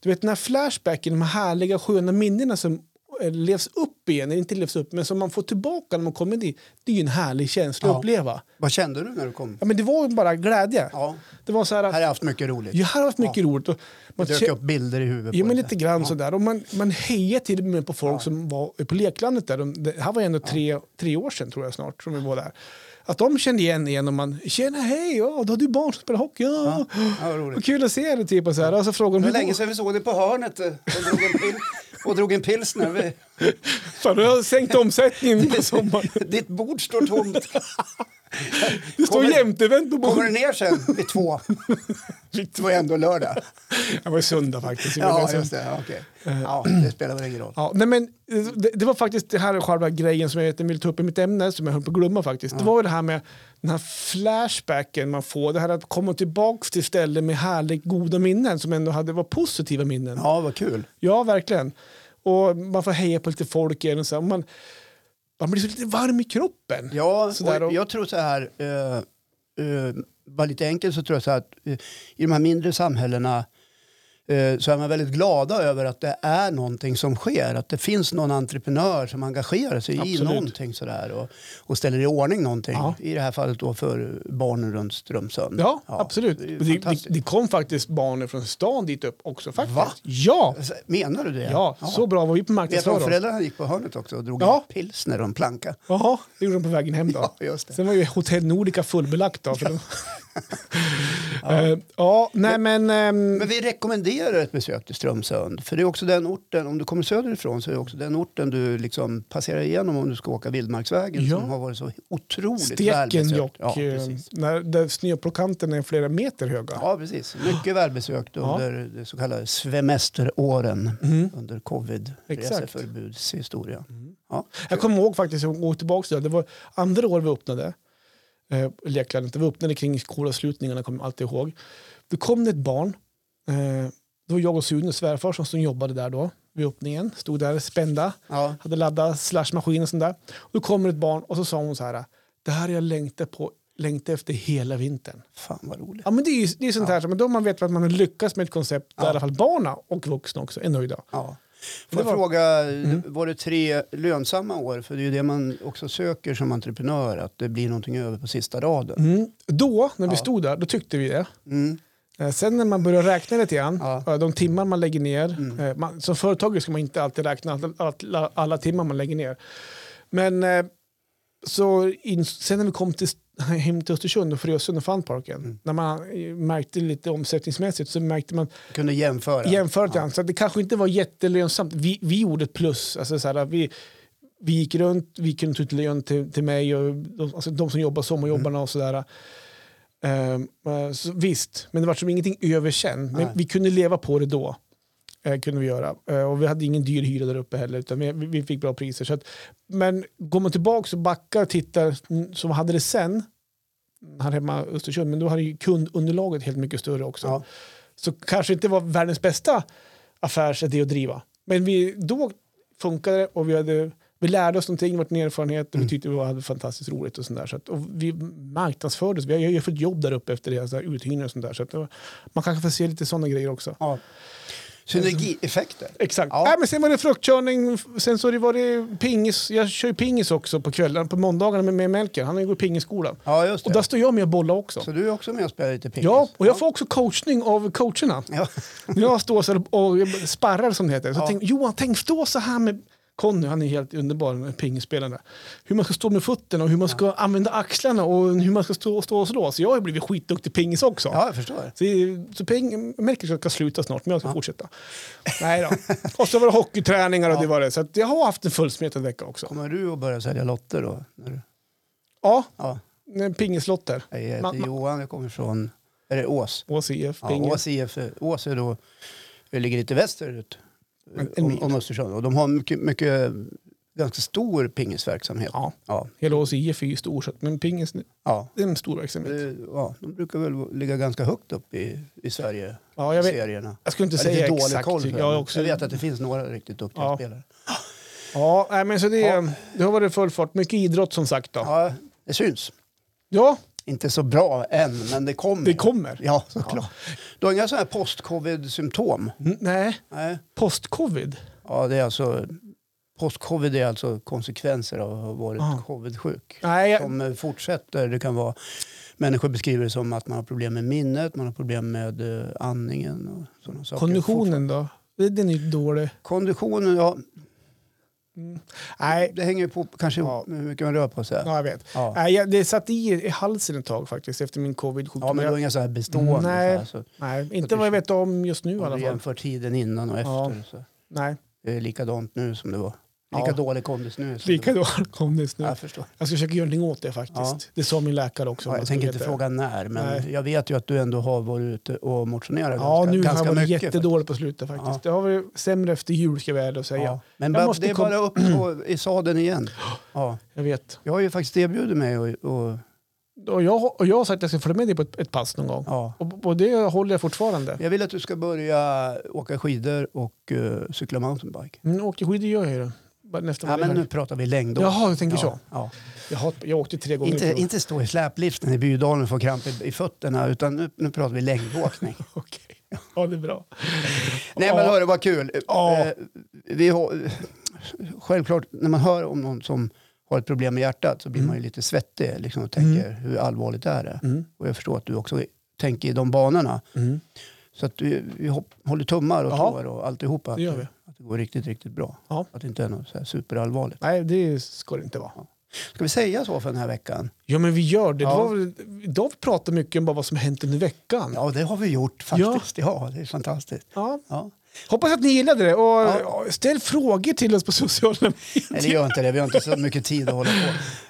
Speaker 1: Du vet den här flashbacken, de här härliga sköna minnena som eh, levs upp igen, eller inte levs upp, men som man får tillbaka när man kommer dit. Det är ju en härlig känsla
Speaker 2: Ja.
Speaker 1: att uppleva.
Speaker 2: Vad kände du när du kom?
Speaker 1: Ja, men det var ju bara glädje.
Speaker 2: Ja.
Speaker 1: Det var så här
Speaker 2: Här har jag
Speaker 1: att,
Speaker 2: haft mycket roligt.
Speaker 1: jag har haft mycket roligt. Och
Speaker 2: det
Speaker 1: man
Speaker 2: dök
Speaker 1: kä-
Speaker 2: upp bilder i huvudet.
Speaker 1: Jo,
Speaker 2: på
Speaker 1: men
Speaker 2: det.
Speaker 1: lite grann sådär. Och man, man hejar till och med på folk som var på leklandet där. De, det här var ju ändå tre, tre år sedan tror jag snart som vi var där. Att de kände igen igen och man, tjena hej, ja, då har du barn som spelar hockey, ja.
Speaker 2: Ja, vad
Speaker 1: Vad
Speaker 2: roligt.
Speaker 1: kul att se dig, typ. Och så, här. Och så frågade de,
Speaker 2: Det var
Speaker 1: hur
Speaker 2: länge sedan vi såg dig på hörnet eh, och drog en, pil- och drog en pilsner. Vi- *laughs*
Speaker 1: Fan, du har sänkt omsättningen på sommaren.
Speaker 2: Ditt bord står tomt.
Speaker 1: *laughs* Det står
Speaker 2: Kommer-
Speaker 1: jämtevänt på
Speaker 2: Kommer
Speaker 1: bordet.
Speaker 2: du ner sen vid
Speaker 1: *laughs*
Speaker 2: två? Det var ju ändå lördag.
Speaker 1: Det var ju söndag faktiskt.
Speaker 2: Ja, just det. Ja, okej.
Speaker 1: Eh.
Speaker 2: ja, det spelar väl ingen roll.
Speaker 1: Ja, nej men, eh, det, det var faktiskt det här är själva grejen som jag egentligen ville ta upp i mitt ämne som jag höll på att glömma faktiskt. Det var ju det här med den här flashbacken man får. Det här att komma tillbaka till ställen med härligt goda minnen som ändå hade, var positiva minnen. Ja.
Speaker 2: Ja, vad kul.
Speaker 1: verkligen. Och man får heja på lite folk igen och så. här. Man, man blir så lite varm i kroppen.
Speaker 2: Ja,
Speaker 1: Sådär
Speaker 2: och
Speaker 1: och-
Speaker 2: jag tror så här, eh, eh, bara lite enkelt så tror jag så här att eh, i de här mindre samhällena eh, så är man väldigt glada över att det är någonting som sker. Att det finns någon entreprenör som engagerar sig i
Speaker 1: Absolut.
Speaker 2: någonting sådär och, och ställer i ordning någonting.
Speaker 1: Ja.
Speaker 2: I det här fallet då för barnen runt Strömsund.
Speaker 1: Ja, absolut.
Speaker 2: det är ju
Speaker 1: Det, det,
Speaker 2: fantastiskt.
Speaker 1: det kom faktiskt barn från stan dit upp också faktiskt.
Speaker 2: Va?
Speaker 1: Ja,
Speaker 2: Menar du det?
Speaker 1: ja, så bra var vi på
Speaker 2: Vet du om
Speaker 1: marknadsföring.
Speaker 2: föräldrarna gick på hörnet också och drog
Speaker 1: Ja.
Speaker 2: en pilsner och en planka?
Speaker 1: Jaha, det gjorde de på vägen hem då.
Speaker 2: *laughs* Ja, just det.
Speaker 1: Sen var ju Hotell Nordica fullbelagt då. För
Speaker 2: *laughs*
Speaker 1: de... ja. ja, nej men... ehm,
Speaker 2: Men vi rekommenderar ett besök till Strömsund. För det är också den orten, om du kommer söderifrån så är det också den orten du liksom passerar igenom om du ska åka Vildmarksvägen
Speaker 1: Ja.
Speaker 2: som har varit så otroligt välbesökt.
Speaker 1: Stekenjokk,
Speaker 2: Ja,
Speaker 1: eh,
Speaker 2: precis.
Speaker 1: när, där snöplokanterna är flera meter höga.
Speaker 2: Ja, precis. Mycket välbesökt
Speaker 1: Ja.
Speaker 2: under det så kallade svemesteråren
Speaker 1: Mm.
Speaker 2: under covid
Speaker 1: Exakt.
Speaker 2: reseförbudshistoria. Ja.
Speaker 1: Jag kommer ihåg faktiskt, jag går tillbaka till det, det var andra år vi öppnade eh, leklandet. Vi öppnade kring skolavslutningarna, kommer jag alltid ihåg. Då kom det ett barn. Eh, det var jag och Sune, svärfar, som, som jobbade där då vid öppningen. Stod där spända.
Speaker 2: Ja.
Speaker 1: hade laddat slashmaskin och sånt där. Och då kommer ett barn och så sa hon så här, det här har jag längtat på, längtat efter hela vintern.
Speaker 2: Fan vad roligt.
Speaker 1: Ja men det är ju det är sånt här, som- men då man vet att man har lyckats med ett koncept där i alla fall barna och vuxna också är nöjda.
Speaker 2: Ja.
Speaker 1: Det
Speaker 2: Får jag
Speaker 1: var- Mm.
Speaker 2: fråga, var det tre lönsamma år? För det är ju det man också söker som entreprenör, att det blir någonting över på sista raden.
Speaker 1: Mm. Då, när vi
Speaker 2: Ja.
Speaker 1: stod där, då tyckte vi det.
Speaker 2: Mm.
Speaker 1: Eh, Sen när man börjar räkna lite grann,
Speaker 2: Ja.
Speaker 1: eh, de timmar man lägger ner.
Speaker 2: Mm.
Speaker 1: eh, Man, som företagare ska man inte alltid räkna alla, alla, alla timmar man lägger ner. Men eh, så in, sen när vi kom till, *laughs* hem till Östersund och Frösön och Funparken,
Speaker 2: Mm.
Speaker 1: när man eh, märkte lite omsättningsmässigt så märkte man
Speaker 2: kunde jämföra.
Speaker 1: jämfört
Speaker 2: Ja.
Speaker 1: ja. så att det kanske inte var jättelönsamt. Vi, vi gjorde ett plus. Alltså, så här, vi, vi gick runt, vi kunde ta ut lön till, till mig och de, alltså, de som jobbar, sommarjobbarna
Speaker 2: Mm.
Speaker 1: och sådär. Ehm, eh, så, visst, men det var som ingenting överkänt. Men
Speaker 2: Nej.
Speaker 1: vi kunde leva på det då. Eh, kunde vi göra. Eh, och vi hade ingen dyr hyra där uppe heller, utan vi, vi fick bra priser. Så att, men går man tillbaka och backar och tittar, mm, som hade det sen, här hemma i Östersund, men då hade ju kundunderlaget helt mycket större också
Speaker 2: Ja.
Speaker 1: så kanske inte var världens bästa affärsidé att driva. Men vi, då funkade det och vi, hade, vi lärde oss någonting, vårt erfarenhet
Speaker 2: Mm.
Speaker 1: och vi tyckte vi hade fantastiskt roligt och sånt där. Så att, och vi marknadsfördes, vi har ju fått jobb där uppe efter det, så här, uthyrning och sånt där. Så att, det var- man kanske får se lite sådana grejer också.
Speaker 2: Ja. Synergieffekter.
Speaker 1: Exakt.
Speaker 2: Ja.
Speaker 1: Nej, men sen var det fruktkörning, sen så det var det pingis. Jag kör ju pingis också på kvällen, på måndagarna med, med Melker. Han går i pingisskolan.
Speaker 2: Ja, just
Speaker 1: Och där
Speaker 2: det.
Speaker 1: står jag med och bollar också.
Speaker 2: Så du är också med och spelar lite pingis?
Speaker 1: Ja, och jag får också coachning av coacherna.
Speaker 2: Ja.
Speaker 1: När jag står så här och sparrar som det heter, så
Speaker 2: Ja.
Speaker 1: tänk, Johan, tänk stå så här med Conny, han är helt underbar, den här pingisspelaren där. Hur man ska stå med fötterna och hur man ska använda axlarna och hur man ska stå, stå och slå. Så jag har ju blivit skitduktig pingis också.
Speaker 2: ja, jag förstår.
Speaker 1: Så, så ping, jag märker att jag ska sluta snart, men jag ska fortsätta. Nej då. Och så var det hockeyträningar och det var det. Så att jag har haft en fullsmetad vecka också.
Speaker 2: Kommer du att börja sälja lotter då? När du...
Speaker 1: Ja,
Speaker 2: ja.
Speaker 1: pingislotter.
Speaker 2: Jag heter
Speaker 1: Ma- ma-
Speaker 2: Johan, jag kommer från är det Ås.
Speaker 1: Ås IF,
Speaker 2: Ja,
Speaker 1: pingis.
Speaker 2: Ås IF. Ås är då, det ligger lite västerut
Speaker 1: En- en
Speaker 2: om,
Speaker 1: mil.
Speaker 2: om Östersund. Och de har mycket, mycket ganska stor pingisverksamhet.
Speaker 1: Ja,
Speaker 2: Ja.
Speaker 1: hela Ås IF är ju stor, så att- men pingis
Speaker 2: Ja.
Speaker 1: det är en stor verksamhet.
Speaker 2: Eh, ja. De brukar väl ligga ganska högt upp i, i Sverige,
Speaker 1: Ja, jag, vet,
Speaker 2: serierna.
Speaker 1: jag skulle inte
Speaker 2: Jag har
Speaker 1: säga
Speaker 2: lite dålig
Speaker 1: exakt. typ.
Speaker 2: koll på det,
Speaker 1: jag, är
Speaker 2: men
Speaker 1: också,
Speaker 2: jag vet att det finns några riktigt duktiga
Speaker 1: Ja.
Speaker 2: spelare.
Speaker 1: Ja, nej, men så det,
Speaker 2: Ja.
Speaker 1: det har varit full fart. Mycket idrott som sagt. Då. Ja.
Speaker 2: Ja, det syns. Inte så bra än, men Mm. det kommer.
Speaker 1: det kommer.
Speaker 2: Ja, såklart. Du har inga sådana här post-covid-symptom?
Speaker 1: N- Nej,
Speaker 2: Nej.
Speaker 1: post-covid.
Speaker 2: Ja, det är alltså... Post-covid är alltså konsekvenser av att ha varit
Speaker 1: Ja.
Speaker 2: covid-sjuk.
Speaker 1: Nej, jag,
Speaker 2: Som eh, fortsätter. Det kan vara... Människor beskriver det som att man har problem med minnet, man har problem med eh, andningen och sådana saker.
Speaker 1: konditionen då? Det- Den är ju dålig. Mm.
Speaker 2: Konditionen, ja.
Speaker 1: Nej,
Speaker 2: Det hänger ju på kanske
Speaker 1: Ja.
Speaker 2: hur mycket man rör på sig.
Speaker 1: ja, jag vet.
Speaker 2: Ja.
Speaker 1: Nej, jag, det satt i, i halsen ett tag faktiskt efter min covid-sjukdom.
Speaker 2: Ja, men det var
Speaker 1: jag, Mm,
Speaker 2: inga så här bestående.
Speaker 1: Nej.
Speaker 2: Så här, så
Speaker 1: nej, inte vad jag vet om just nu i
Speaker 2: om
Speaker 1: alla
Speaker 2: du
Speaker 1: fall.
Speaker 2: jämför tiden innan och
Speaker 1: Ja.
Speaker 2: efter. Så.
Speaker 1: Nej.
Speaker 2: Det är likadant nu som det var Lika
Speaker 1: Ja.
Speaker 2: dålig kondis nu. så-
Speaker 1: Lika dålig kondis nu.
Speaker 2: Ja, Jag förstår.
Speaker 1: Jag ska försöka göra någonting åt det faktiskt.
Speaker 2: Ja.
Speaker 1: Det sa min läkare också. om
Speaker 2: Ja, jag
Speaker 1: man ska
Speaker 2: tänker
Speaker 1: veta
Speaker 2: inte
Speaker 1: det.
Speaker 2: fråga när, men
Speaker 1: Liksom, Nej.
Speaker 2: jag vet ju att du ändå har varit ute och motionerat
Speaker 1: Ja,
Speaker 2: ganska,
Speaker 1: nu har
Speaker 2: ganska
Speaker 1: jag varit
Speaker 2: mycket.
Speaker 1: jättedålig på slutet faktiskt. Det har varit sämre efter jul ska jag vara ärlig och säga.
Speaker 2: Ja. Men
Speaker 1: Jag
Speaker 2: bara,
Speaker 1: måste
Speaker 2: det är
Speaker 1: kom-
Speaker 2: bara upp på, i sadeln igen. Ja.
Speaker 1: Jag vet.
Speaker 2: Jag har ju faktiskt erbjudit mig och, och
Speaker 1: Och jag, och jag har sagt att jag ska följa med dig på ett, ett pass någon gång.
Speaker 2: ja.
Speaker 1: Och, och det håller jag fortfarande.
Speaker 2: Jag vill att du ska börja åka skidor och eh, cykla mountainbike.
Speaker 1: Mm, åker skidor gör jag ju det. Bara Nästa
Speaker 2: Ja,
Speaker 1: ja,
Speaker 2: men nu pratar vi längdår.
Speaker 1: Jaha, du tänker
Speaker 2: ja,
Speaker 1: så.
Speaker 2: Ja.
Speaker 1: Jag, har, jag åkte tre gånger.
Speaker 2: Inte,
Speaker 1: i fjol.
Speaker 2: inte stå i släpliften i Bydalen och få kramp i, i fötterna, utan nu, nu pratar vi längdåkning.
Speaker 1: *laughs* Okej. Ja, det är bra.
Speaker 2: *laughs* Nej men hörru, vad kul.
Speaker 1: Ja.
Speaker 2: Eh, Vi har, självklart, när man hör om någon som har ett problem med hjärtat så blir man ju lite svettig liksom, och tänker hur allvarligt är det?
Speaker 1: Mm.
Speaker 2: Och jag förstår att du också tänker i de banorna.
Speaker 1: Mm.
Speaker 2: Så att vi, vi hopp, håller tummar och
Speaker 1: Ja.
Speaker 2: tår och alltihopa. Att
Speaker 1: Det gör vi.
Speaker 2: Att det går riktigt, riktigt bra.
Speaker 1: Ja.
Speaker 2: Att det inte är något så här superallvarligt.
Speaker 1: Nej, det ska det inte vara.
Speaker 2: Ska vi säga så för den här veckan?
Speaker 1: Ja, men vi gör det.
Speaker 2: Ja.
Speaker 1: det var, väl- idag pratar vi mycket om bara vad som hänt under veckan. Ja.
Speaker 2: Ja, det har vi gjort faktiskt. Mm. Ja, det är fantastiskt. Ja.
Speaker 1: Hoppas att ni gillade det. Och
Speaker 2: Ja.
Speaker 1: ja, ställ frågor till oss på sociala medier.
Speaker 2: Nej, det gör inte det. Vi har inte så mycket tid att hålla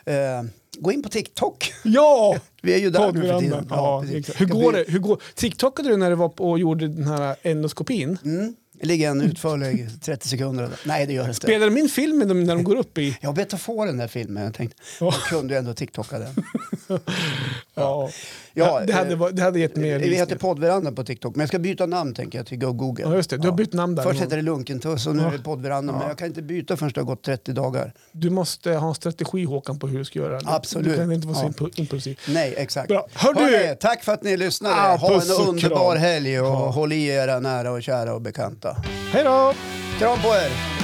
Speaker 2: på. Eh, gå in på TikTok.
Speaker 1: *laughs* Ja!
Speaker 2: Vi är ju där nu för
Speaker 1: Poddveranda.
Speaker 2: tiden.
Speaker 1: Ja,
Speaker 2: precis.
Speaker 1: exakt. hur
Speaker 2: Det
Speaker 1: går
Speaker 2: blir-
Speaker 1: det? Hur går... TikTokade du när du var på och gjorde den här endoskopin?
Speaker 2: Mm. Det ligger en utförlig 30 sekunder. Nej, det gör det inte.
Speaker 1: Spelar de in filmen de- när de går upp i?
Speaker 2: Jag bet att få den där filmen. Jag tänkte,
Speaker 1: Ja.
Speaker 2: jag kunde ju ändå TikToka den.
Speaker 1: Ja.
Speaker 2: Ja,
Speaker 1: Ja, *laughs* det, hade,
Speaker 2: eh,
Speaker 1: varit- det hade gett mer
Speaker 2: Vi heter
Speaker 1: visning.
Speaker 2: Poddverandan på TikTok, men jag ska byta namn tänker jag till Go Google.
Speaker 1: Ja, just det. Du har
Speaker 2: Ja.
Speaker 1: bytt namn där.
Speaker 2: Först hette det Lunkentuss och nu är det Poddverandan, men
Speaker 1: Ja.
Speaker 2: jag kan inte byta förrän det har gått 30 dagar.
Speaker 1: Du måste ha en strategi Håkan på hur du ska göra. Du-
Speaker 2: Absolut.
Speaker 1: Du kan inte vara så
Speaker 2: Ja.
Speaker 1: impu- impulsiv.
Speaker 2: Nej, exakt.
Speaker 1: Bra. Hör du-
Speaker 2: Hörni, tack för att ni lyssnade.
Speaker 1: Ah,
Speaker 2: ha
Speaker 1: puss och
Speaker 2: en underbar
Speaker 1: kram.
Speaker 2: helg och håll i era nära och kära och bekanta.
Speaker 1: Hej då!
Speaker 2: Kram på er!